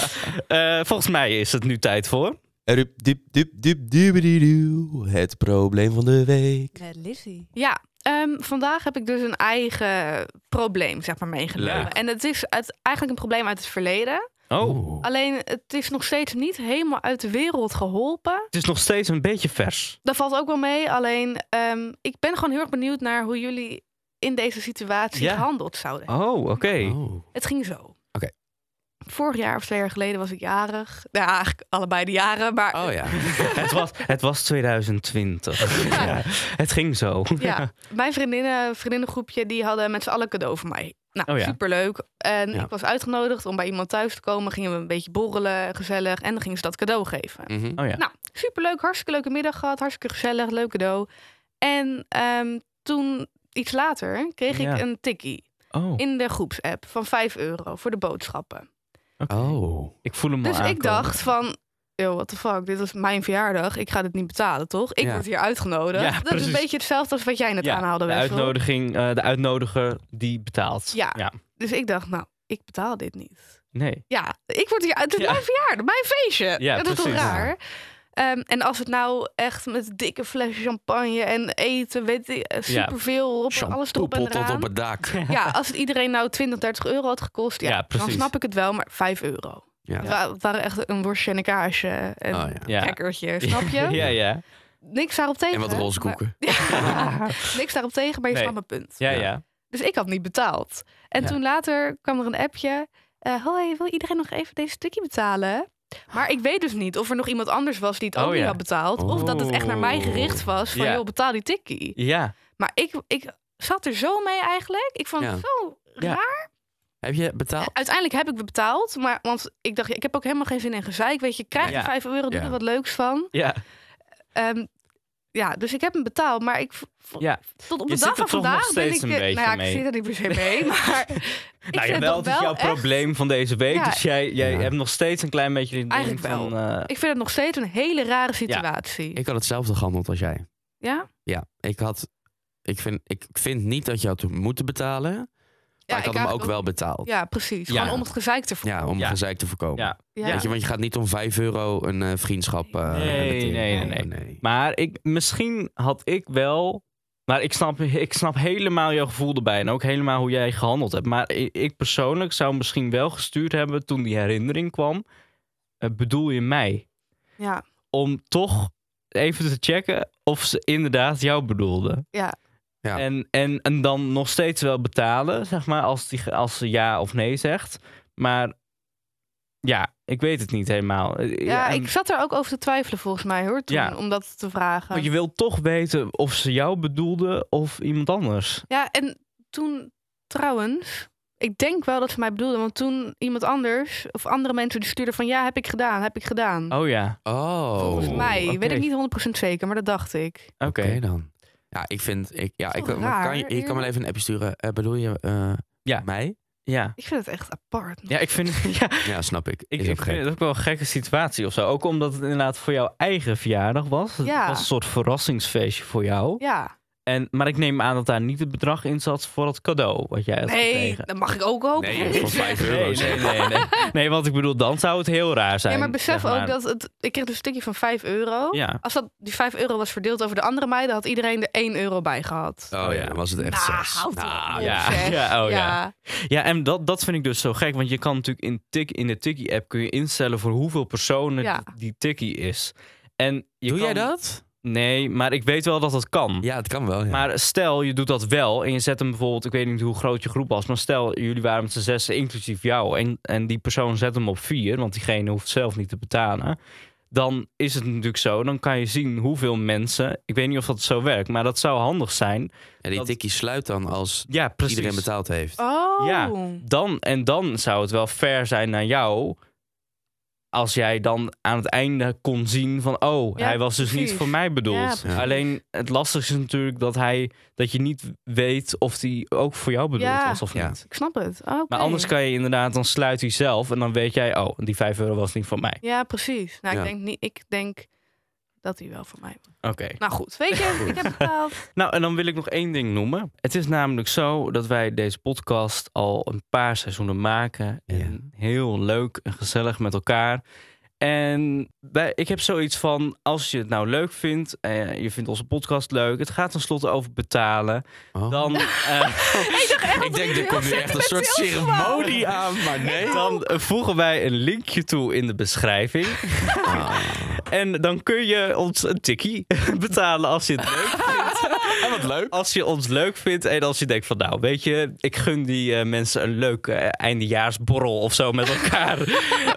Speaker 2: Eh, volgens mij is het nu tijd voor.
Speaker 4: Rup, dip, dip, dip, dubbedoedoe. Het probleem van de week.
Speaker 5: Met Lizzie.
Speaker 3: Ja, ehm, vandaag heb ik dus een eigen probleem zeg maar, meegenomen.
Speaker 1: Leuk.
Speaker 3: En het is uit, eigenlijk een probleem uit het verleden.
Speaker 2: Oh,
Speaker 3: Alleen het is nog steeds niet helemaal uit de wereld geholpen.
Speaker 2: het is nog steeds een beetje vers.
Speaker 3: Dat valt ook wel mee. Alleen ehm, ik ben gewoon heel erg benieuwd naar hoe jullie in deze situatie
Speaker 2: Ja.
Speaker 3: gehandeld zouden
Speaker 2: Oh, oké.
Speaker 1: Oh.
Speaker 3: Het ging zo.
Speaker 1: Oké.
Speaker 3: Vorig jaar of twee jaar geleden was ik jarig. Ja, eigenlijk allebei de jaren. Maar
Speaker 1: Oh ja.
Speaker 2: het, was, het was 2020. Ja. Het ging zo. Oh [laughs]
Speaker 3: ja, mijn vriendinnen, vriendinnengroepje, die hadden met z'n allen cadeau voor mij Nou,
Speaker 2: Oh ja.
Speaker 3: superleuk. En
Speaker 1: Ja.
Speaker 3: ik was uitgenodigd om bij iemand thuis te komen. Gingen we een beetje borrelen, gezellig. En dan gingen ze dat cadeau geven.
Speaker 1: Mhm.
Speaker 2: Oh ja.
Speaker 3: Nou, superleuk. Hartstikke leuke middag gehad. Hartstikke gezellig. Leuk cadeau. En ehm, toen, iets later, kreeg
Speaker 2: Ja.
Speaker 3: ik een tikkie
Speaker 2: Oh, oké.
Speaker 3: in de groepsapp van 5 euro voor de boodschappen.
Speaker 1: Oh.
Speaker 2: Ik voel hem al
Speaker 3: Dus ik
Speaker 2: aankomen.
Speaker 3: dacht van, yo, what the fuck, dit is mijn verjaardag. Ik ga dit niet betalen, toch? Ik
Speaker 1: Ja.
Speaker 3: word hier uitgenodigd.
Speaker 2: Ja,
Speaker 3: dat is
Speaker 2: precies.
Speaker 3: een beetje hetzelfde als wat jij net
Speaker 2: Ja,
Speaker 3: aanhaalde,
Speaker 2: de
Speaker 3: Wessel.
Speaker 2: uitnodiging, eh, de uitnodiger die betaalt.
Speaker 3: Ja. Dus ik dacht, nou, ik betaal dit niet.
Speaker 2: Nee.
Speaker 3: Ja, ik word hier uit. Het is
Speaker 2: Ja.
Speaker 3: mijn verjaardag, mijn feestje.
Speaker 2: Ja,
Speaker 3: dat is toch
Speaker 2: precies.
Speaker 3: raar? Ehm, en als het nou echt met dikke flessen champagne en eten, weet ik, eh,
Speaker 2: Ja.
Speaker 3: superveel, op, alles erop en
Speaker 1: Shampoo tot
Speaker 3: eraan.
Speaker 1: op het dak.
Speaker 3: Ja, als het iedereen nou 20, 30 euro had gekost, ja,
Speaker 2: Ja,
Speaker 3: dan
Speaker 2: precies.
Speaker 3: snap ik het wel, maar 5 euro.
Speaker 1: Ja.
Speaker 3: Het wa- Het waren echt een worstje en een kaasje en
Speaker 1: Oh, ja.
Speaker 2: Ja.
Speaker 3: crackertje, snap je?
Speaker 2: [laughs] ja, ja.
Speaker 3: Niks daarop tegen.
Speaker 1: En wat
Speaker 3: hè?
Speaker 1: roze
Speaker 3: Maar- [laughs]
Speaker 1: koeken.
Speaker 3: Ja, niks daarop tegen, maar je
Speaker 2: Nee.
Speaker 3: snapt mijn punt.
Speaker 2: Ja,
Speaker 1: Ja.
Speaker 2: ja.
Speaker 3: Dus ik had niet betaald. En
Speaker 1: Ja.
Speaker 3: toen later kwam er een appje. eh, Hoi, wil iedereen nog even deze stukje betalen? Maar ik weet dus niet of er nog iemand anders was die het ook
Speaker 2: Oh,
Speaker 3: niet
Speaker 2: ja.
Speaker 3: had betaald. Of dat het echt naar
Speaker 1: Oh.
Speaker 3: mij gericht was van,
Speaker 2: Ja.
Speaker 3: joh, betaal die tikkie.
Speaker 2: Ja.
Speaker 3: Maar ik, ik zat er zo mee eigenlijk. Ik vond het
Speaker 1: Ja.
Speaker 3: zo
Speaker 2: Ja.
Speaker 3: raar.
Speaker 1: Heb je betaald?
Speaker 3: Uiteindelijk heb ik het betaald. Maar, want ik dacht, ik heb ook helemaal geen zin in gezeik. Weet je, krijg je
Speaker 2: Ja.
Speaker 3: 5 euro, doe
Speaker 1: Ja.
Speaker 3: er wat leuks van.
Speaker 2: Ja.
Speaker 3: Ehm, ja, dus ik heb hem betaald. Maar ik, v- v-
Speaker 2: Ja.
Speaker 3: tot op de
Speaker 2: Je zit
Speaker 3: dag van
Speaker 2: er toch nog
Speaker 3: vandaag
Speaker 2: steeds
Speaker 3: ben
Speaker 2: een
Speaker 3: ik... eh, nou
Speaker 2: beetje
Speaker 3: ja, ik
Speaker 2: mee.
Speaker 3: zit er niet per se
Speaker 2: [laughs]
Speaker 3: mee. Maar ik vind
Speaker 2: nou, jawel,
Speaker 3: het
Speaker 2: dat is jouw
Speaker 3: wel echt-
Speaker 2: probleem van deze week.
Speaker 3: Ja.
Speaker 2: Dus jij, jij
Speaker 1: Ja.
Speaker 2: hebt nog steeds een klein beetje... die ding
Speaker 3: Eigenlijk wel.
Speaker 2: Van, eh,
Speaker 3: Ik vind het nog steeds een hele rare situatie. Ja?
Speaker 1: Ik had hetzelfde gehandeld als jij. Ja, ik had. Ik vind, ik vind niet dat je had moeten betalen. Maar ik had hem
Speaker 3: eigenlijk
Speaker 1: ook wel betaald. Ja,
Speaker 3: Ja, precies.
Speaker 2: Ja.
Speaker 3: Gewoon om het gezeik te voorkomen.
Speaker 1: om
Speaker 2: Ja.
Speaker 1: gezeik te voorkomen.
Speaker 2: Ja.
Speaker 3: Ja.
Speaker 1: Weet je, want je gaat niet om 5 euro een eh, vriendschap. eh,
Speaker 2: Nee,
Speaker 1: relativeren.
Speaker 3: nee,
Speaker 2: nee, nee. maar ik, misschien had ik wel... Maar ik snap, ik snap helemaal jouw gevoel erbij. En ook helemaal hoe jij gehandeld hebt. Maar i- ik, persoonlijk zou misschien wel gestuurd hebben... toen die herinnering kwam. eh, bedoel je mij?
Speaker 3: Ja.
Speaker 2: Om toch even te checken of ze inderdaad jou bedoelden.
Speaker 3: Ja.
Speaker 1: Ja.
Speaker 2: En, en, en dan nog steeds wel betalen, zeg maar, als, die, als ze ja of nee zegt. Maar ja, ik weet het niet helemaal. Ja,
Speaker 3: Ja,
Speaker 2: en-
Speaker 3: ik zat er ook over te twijfelen volgens mij hoor, toen,
Speaker 2: Ja.
Speaker 3: om dat te vragen.
Speaker 2: Maar je wilt toch weten of ze jou bedoelden of iemand anders.
Speaker 3: Ja, en toen trouwens, ik denk wel dat ze mij bedoelden, want toen iemand anders of andere mensen die stuurden van ja, heb ik gedaan, heb ik gedaan.
Speaker 2: Oh ja,
Speaker 1: Oh.
Speaker 3: volgens mij,
Speaker 2: oké.
Speaker 3: weet ik niet 100% zeker, maar dat dacht ik.
Speaker 2: oké.
Speaker 1: Oké dan. Ja, ik vind. Ik, ja,
Speaker 3: Is
Speaker 1: ik,
Speaker 3: toch
Speaker 1: maar
Speaker 3: raar,
Speaker 1: kan, je, je kan wel
Speaker 3: eerlijk?
Speaker 1: even een appje sturen. Eh, bedoel je eh,
Speaker 2: Ja.
Speaker 1: mij?
Speaker 2: Ja.
Speaker 3: Ik vind het echt apart.
Speaker 2: ja, ik vind, ja,
Speaker 1: [laughs] Ja, snap ik.
Speaker 2: ik,
Speaker 1: Is ook
Speaker 2: ik vind
Speaker 1: gek.
Speaker 2: het ook wel een gekke situatie of zo. Ook omdat het inderdaad voor jouw eigen verjaardag was. Het
Speaker 3: Ja.
Speaker 2: was een soort verrassingsfeestje voor jou.
Speaker 3: Ja,
Speaker 2: En, maar ik neem aan dat daar niet het bedrag in zat voor het cadeau wat jij had
Speaker 3: nee,
Speaker 2: gekregen.
Speaker 3: dat mag ik ook hopen.
Speaker 1: Nee, joh, voor 5 euro.
Speaker 2: Nee, nee, nee, nee. Nee, want ik bedoel, dan zou het heel raar zijn.
Speaker 3: Ja, maar besef
Speaker 2: zeg
Speaker 3: ook dat het, ik kreeg dus een stukje van 5 euro.
Speaker 2: Ja,
Speaker 3: Als dat, die 5 euro was verdeeld over de andere meiden, had iedereen er 1 euro bij gehad.
Speaker 1: [laughs] Oh ja, dan was het echt
Speaker 3: Nou,
Speaker 1: zes.
Speaker 3: houd
Speaker 1: Nou,
Speaker 3: op.
Speaker 1: ja.
Speaker 2: ja,
Speaker 3: zeg.
Speaker 2: [laughs] ja, oh ja.
Speaker 3: ja.
Speaker 2: Ja, en dat, dat vind ik dus zo gek. Want je kan natuurlijk in, tik, in de Tikkie-app kun je instellen voor hoeveel personen
Speaker 3: Ja.
Speaker 2: die, die Tikkie is. En je
Speaker 1: Doe
Speaker 2: kan-
Speaker 1: jij dat?
Speaker 2: Nee, maar ik weet wel dat dat kan.
Speaker 1: Ja, het kan wel. Ja.
Speaker 2: Maar stel, je doet dat wel en je zet hem bijvoorbeeld, ik weet niet hoe groot je groep was, maar stel, jullie waren met z'n zessen, inclusief jou, en, en die persoon zet hem op vier, want diegene hoeft zelf niet te betalen. Dan is het natuurlijk zo, dan kan je zien hoeveel mensen, ik weet niet of dat zo werkt, maar dat zou handig zijn.
Speaker 1: en die
Speaker 2: dat-
Speaker 1: tikkie sluit dan als
Speaker 2: Ja, precies.
Speaker 1: iedereen betaald heeft.
Speaker 3: Oh.
Speaker 2: Ja. dan, en dan zou het wel fair zijn naar jou. Als jij dan aan het einde kon zien van, oh,
Speaker 3: Ja,
Speaker 2: hij was dus niet
Speaker 3: precies.
Speaker 2: voor mij
Speaker 3: Ja,
Speaker 2: bedoeld.
Speaker 3: precies.
Speaker 2: Alleen het lastigste is natuurlijk dat, hij, dat je niet weet of hij ook voor jou bedoeld
Speaker 3: Ja.
Speaker 2: was of
Speaker 1: Ja.
Speaker 2: niet.
Speaker 3: Ik snap het. Oh, oké.
Speaker 2: Maar anders kan je inderdaad, dan sluit hij zelf en dan weet jij, oh, die 5 euro was niet voor mij.
Speaker 3: Ja, precies. Nou,
Speaker 1: Ja.
Speaker 3: ik, denk niet, ik denk dat hij wel voor mij was.
Speaker 2: Oké.
Speaker 3: Nou goed, weet
Speaker 2: [laughs]
Speaker 3: je, ik heb betaald.
Speaker 2: Nou, en dan wil ik nog één ding noemen. Het is namelijk zo dat wij deze podcast al een paar seizoenen maken. En heel leuk en gezellig met elkaar. En wij, ik heb zoiets van, als je het nou leuk vindt, eh, je vindt onze podcast leuk, het gaat tenslotte over betalen,
Speaker 1: Oh.
Speaker 2: dan, eh, [laughs]
Speaker 1: ik denk, er komt nu echt een soort
Speaker 3: Salesman.
Speaker 1: ceremonie aan, maar nee.
Speaker 2: dan voegen wij een linkje toe in de beschrijving.
Speaker 1: Ah.
Speaker 2: [laughs] En dan kun je ons een tikkie betalen als je het leuk vindt.
Speaker 4: [laughs] En wat leuk.
Speaker 2: Als je ons leuk vindt en als je denkt van nou, weet je, ik gun die eh, mensen een leuk eh, eindejaarsborrel of zo met
Speaker 4: [laughs]
Speaker 2: elkaar.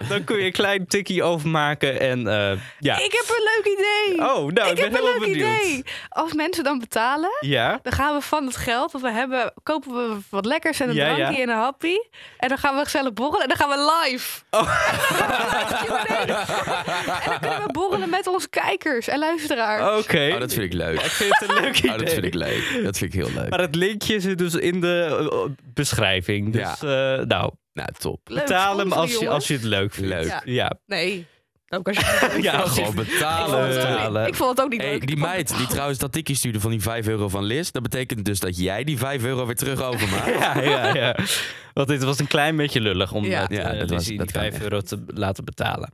Speaker 2: dan kun je een klein tikkie overmaken en eh, ja.
Speaker 3: Ik heb een leuk idee.
Speaker 2: Oh, nou, ik,
Speaker 3: ik heb
Speaker 2: ben
Speaker 3: een
Speaker 2: helemaal
Speaker 3: leuk
Speaker 2: benieuwd.
Speaker 3: idee. Als mensen dan betalen,
Speaker 2: Ja,
Speaker 3: dan gaan we van het geld dat we hebben, kopen we wat lekkers en een
Speaker 2: Ja, ja.
Speaker 3: drankje en een happy. En dan gaan we gezellig borrelen en dan gaan we live.
Speaker 2: Oh.
Speaker 3: [laughs] en dan kunnen we borrelen met onze kijkers en luisteraars.
Speaker 2: oké.
Speaker 4: Oh, dat vind ik leuk.
Speaker 2: Ik vind het een leuk idee.
Speaker 4: Oh, dat vind ik leuk. Dat vind ik heel leuk.
Speaker 2: Maar het linkje zit dus in de eh, eh, beschrijving. Dus eh, nou,
Speaker 4: Nou, top.
Speaker 3: Leuk,
Speaker 2: betaal hem
Speaker 3: sponsoren,
Speaker 2: als je,
Speaker 3: jongens.
Speaker 2: als je het leuk vindt.
Speaker 4: Leuk.
Speaker 3: Ja.
Speaker 2: Ja.
Speaker 3: Nee. Ook als [laughs] je...
Speaker 2: Ja,
Speaker 4: Gewoon
Speaker 3: Ik vond het ook
Speaker 4: betalen.
Speaker 3: niet-
Speaker 2: Betalen.
Speaker 3: Ik vond het ook niet
Speaker 4: Hey,
Speaker 3: leuk.
Speaker 4: die
Speaker 3: Ik vond-
Speaker 4: meid die trouwens dat tikje stuurde van die 5 euro van Liz, dat betekent dus dat jij die 5 euro weer terug overmaakt.
Speaker 2: Ja, ja, ja. Want dit was een klein beetje lullig om
Speaker 3: Ja.
Speaker 2: eh, te-
Speaker 4: Ja, dat
Speaker 2: Lizzie
Speaker 4: was- dat
Speaker 2: die
Speaker 4: kan
Speaker 2: 5
Speaker 4: echt.
Speaker 2: euro te laten betalen.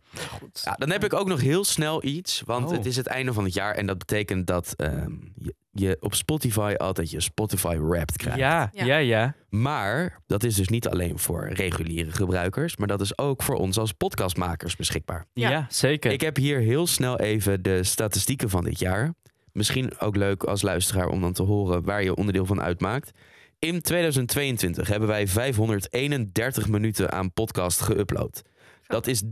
Speaker 1: Ja, dan heb ik ook nog heel snel iets. Want
Speaker 2: Oh.
Speaker 1: het is het einde van het jaar. En dat betekent dat ehm, je, je op Spotify altijd je Spotify Wrapped krijgt.
Speaker 2: Ja,
Speaker 3: Ja.
Speaker 2: ja, ja. ja.
Speaker 1: Maar dat is dus niet alleen voor reguliere gebruikers. Maar dat is ook voor ons als podcastmakers beschikbaar.
Speaker 3: Ja.
Speaker 2: zeker.
Speaker 1: Ik heb hier heel snel even de statistieken van dit jaar. Misschien ook leuk als luisteraar om dan te horen waar je onderdeel van uitmaakt. In 2022 hebben wij 531 minuten aan podcast geüpload. Dat is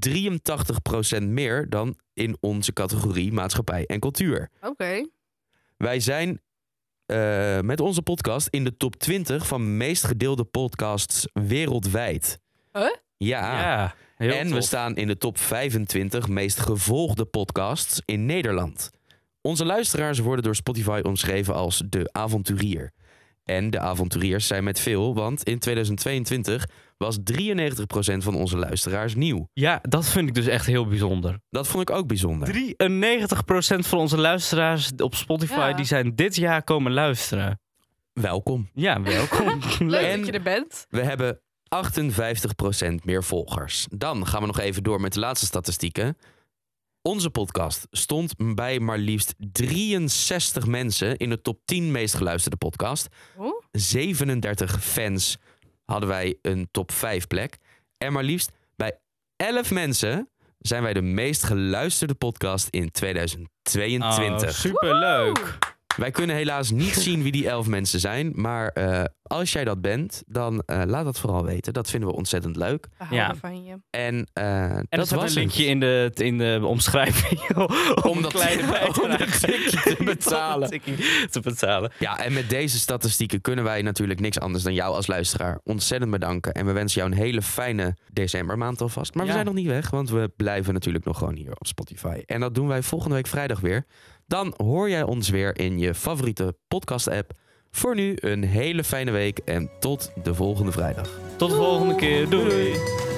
Speaker 1: 83% meer dan in onze categorie maatschappij en cultuur.
Speaker 3: Oké.
Speaker 1: Wij zijn eh, met onze podcast in de top 20 van meest gedeelde podcasts wereldwijd.
Speaker 3: Huh?
Speaker 1: Ja.
Speaker 2: ja, heel
Speaker 1: ah. En we
Speaker 2: tof.
Speaker 1: staan in de top 25 meest gevolgde podcasts in Nederland. Onze luisteraars worden door Spotify omschreven als de avonturier. En de avonturiers zijn met veel, want in 2022 was 93% van onze luisteraars nieuw.
Speaker 2: Ja, dat vind ik dus echt heel bijzonder. 93%
Speaker 1: Dat vond ik ook bijzonder.
Speaker 2: van onze luisteraars op Spotify
Speaker 3: Ja.
Speaker 2: die zijn dit jaar komen luisteren.
Speaker 1: Welkom.
Speaker 2: Ja, welkom.
Speaker 3: Leuk
Speaker 1: En-
Speaker 3: dat je er bent.
Speaker 1: We hebben 58% meer volgers. Dan gaan we nog even door met de laatste statistieken. Onze podcast stond bij maar liefst 63 mensen in de top 10 meest geluisterde podcast.
Speaker 3: Oh,
Speaker 1: 37 fans hadden wij een top 5 plek. En maar liefst bij 11 mensen zijn wij de meest geluisterde podcast in 2022.
Speaker 2: Oh, superleuk.
Speaker 1: Wij kunnen helaas
Speaker 2: [laughs]
Speaker 1: niet zien wie die 11 mensen zijn. Maar eh, als jij dat bent, dan eh, laat dat vooral weten. Dat vinden we ontzettend leuk.
Speaker 3: we houden
Speaker 2: Ja.
Speaker 3: van je.
Speaker 1: En, eh,
Speaker 2: En
Speaker 1: dat
Speaker 2: dat
Speaker 1: was
Speaker 2: een linkje
Speaker 1: het.
Speaker 2: in de, in de omschrijving. [laughs] om,
Speaker 1: Om
Speaker 2: een
Speaker 1: dat-
Speaker 2: kleine
Speaker 1: om dat
Speaker 2: bijdrage
Speaker 1: tikkie te
Speaker 2: [laughs] Om dat
Speaker 1: betalen.
Speaker 2: tikkie te betalen.
Speaker 1: Ja, en met deze statistieken kunnen wij natuurlijk niks anders dan jou als luisteraar ontzettend bedanken. En we wensen jou een hele fijne decembermaand alvast. Maar
Speaker 2: Ja.
Speaker 1: we zijn nog niet weg, want we blijven natuurlijk nog gewoon hier op Spotify. En dat doen wij volgende week vrijdag weer. Dan hoor jij ons weer in je favoriete podcast-app. Voor nu een hele fijne week en tot de volgende vrijdag.
Speaker 2: Tot de volgende keer. Doei.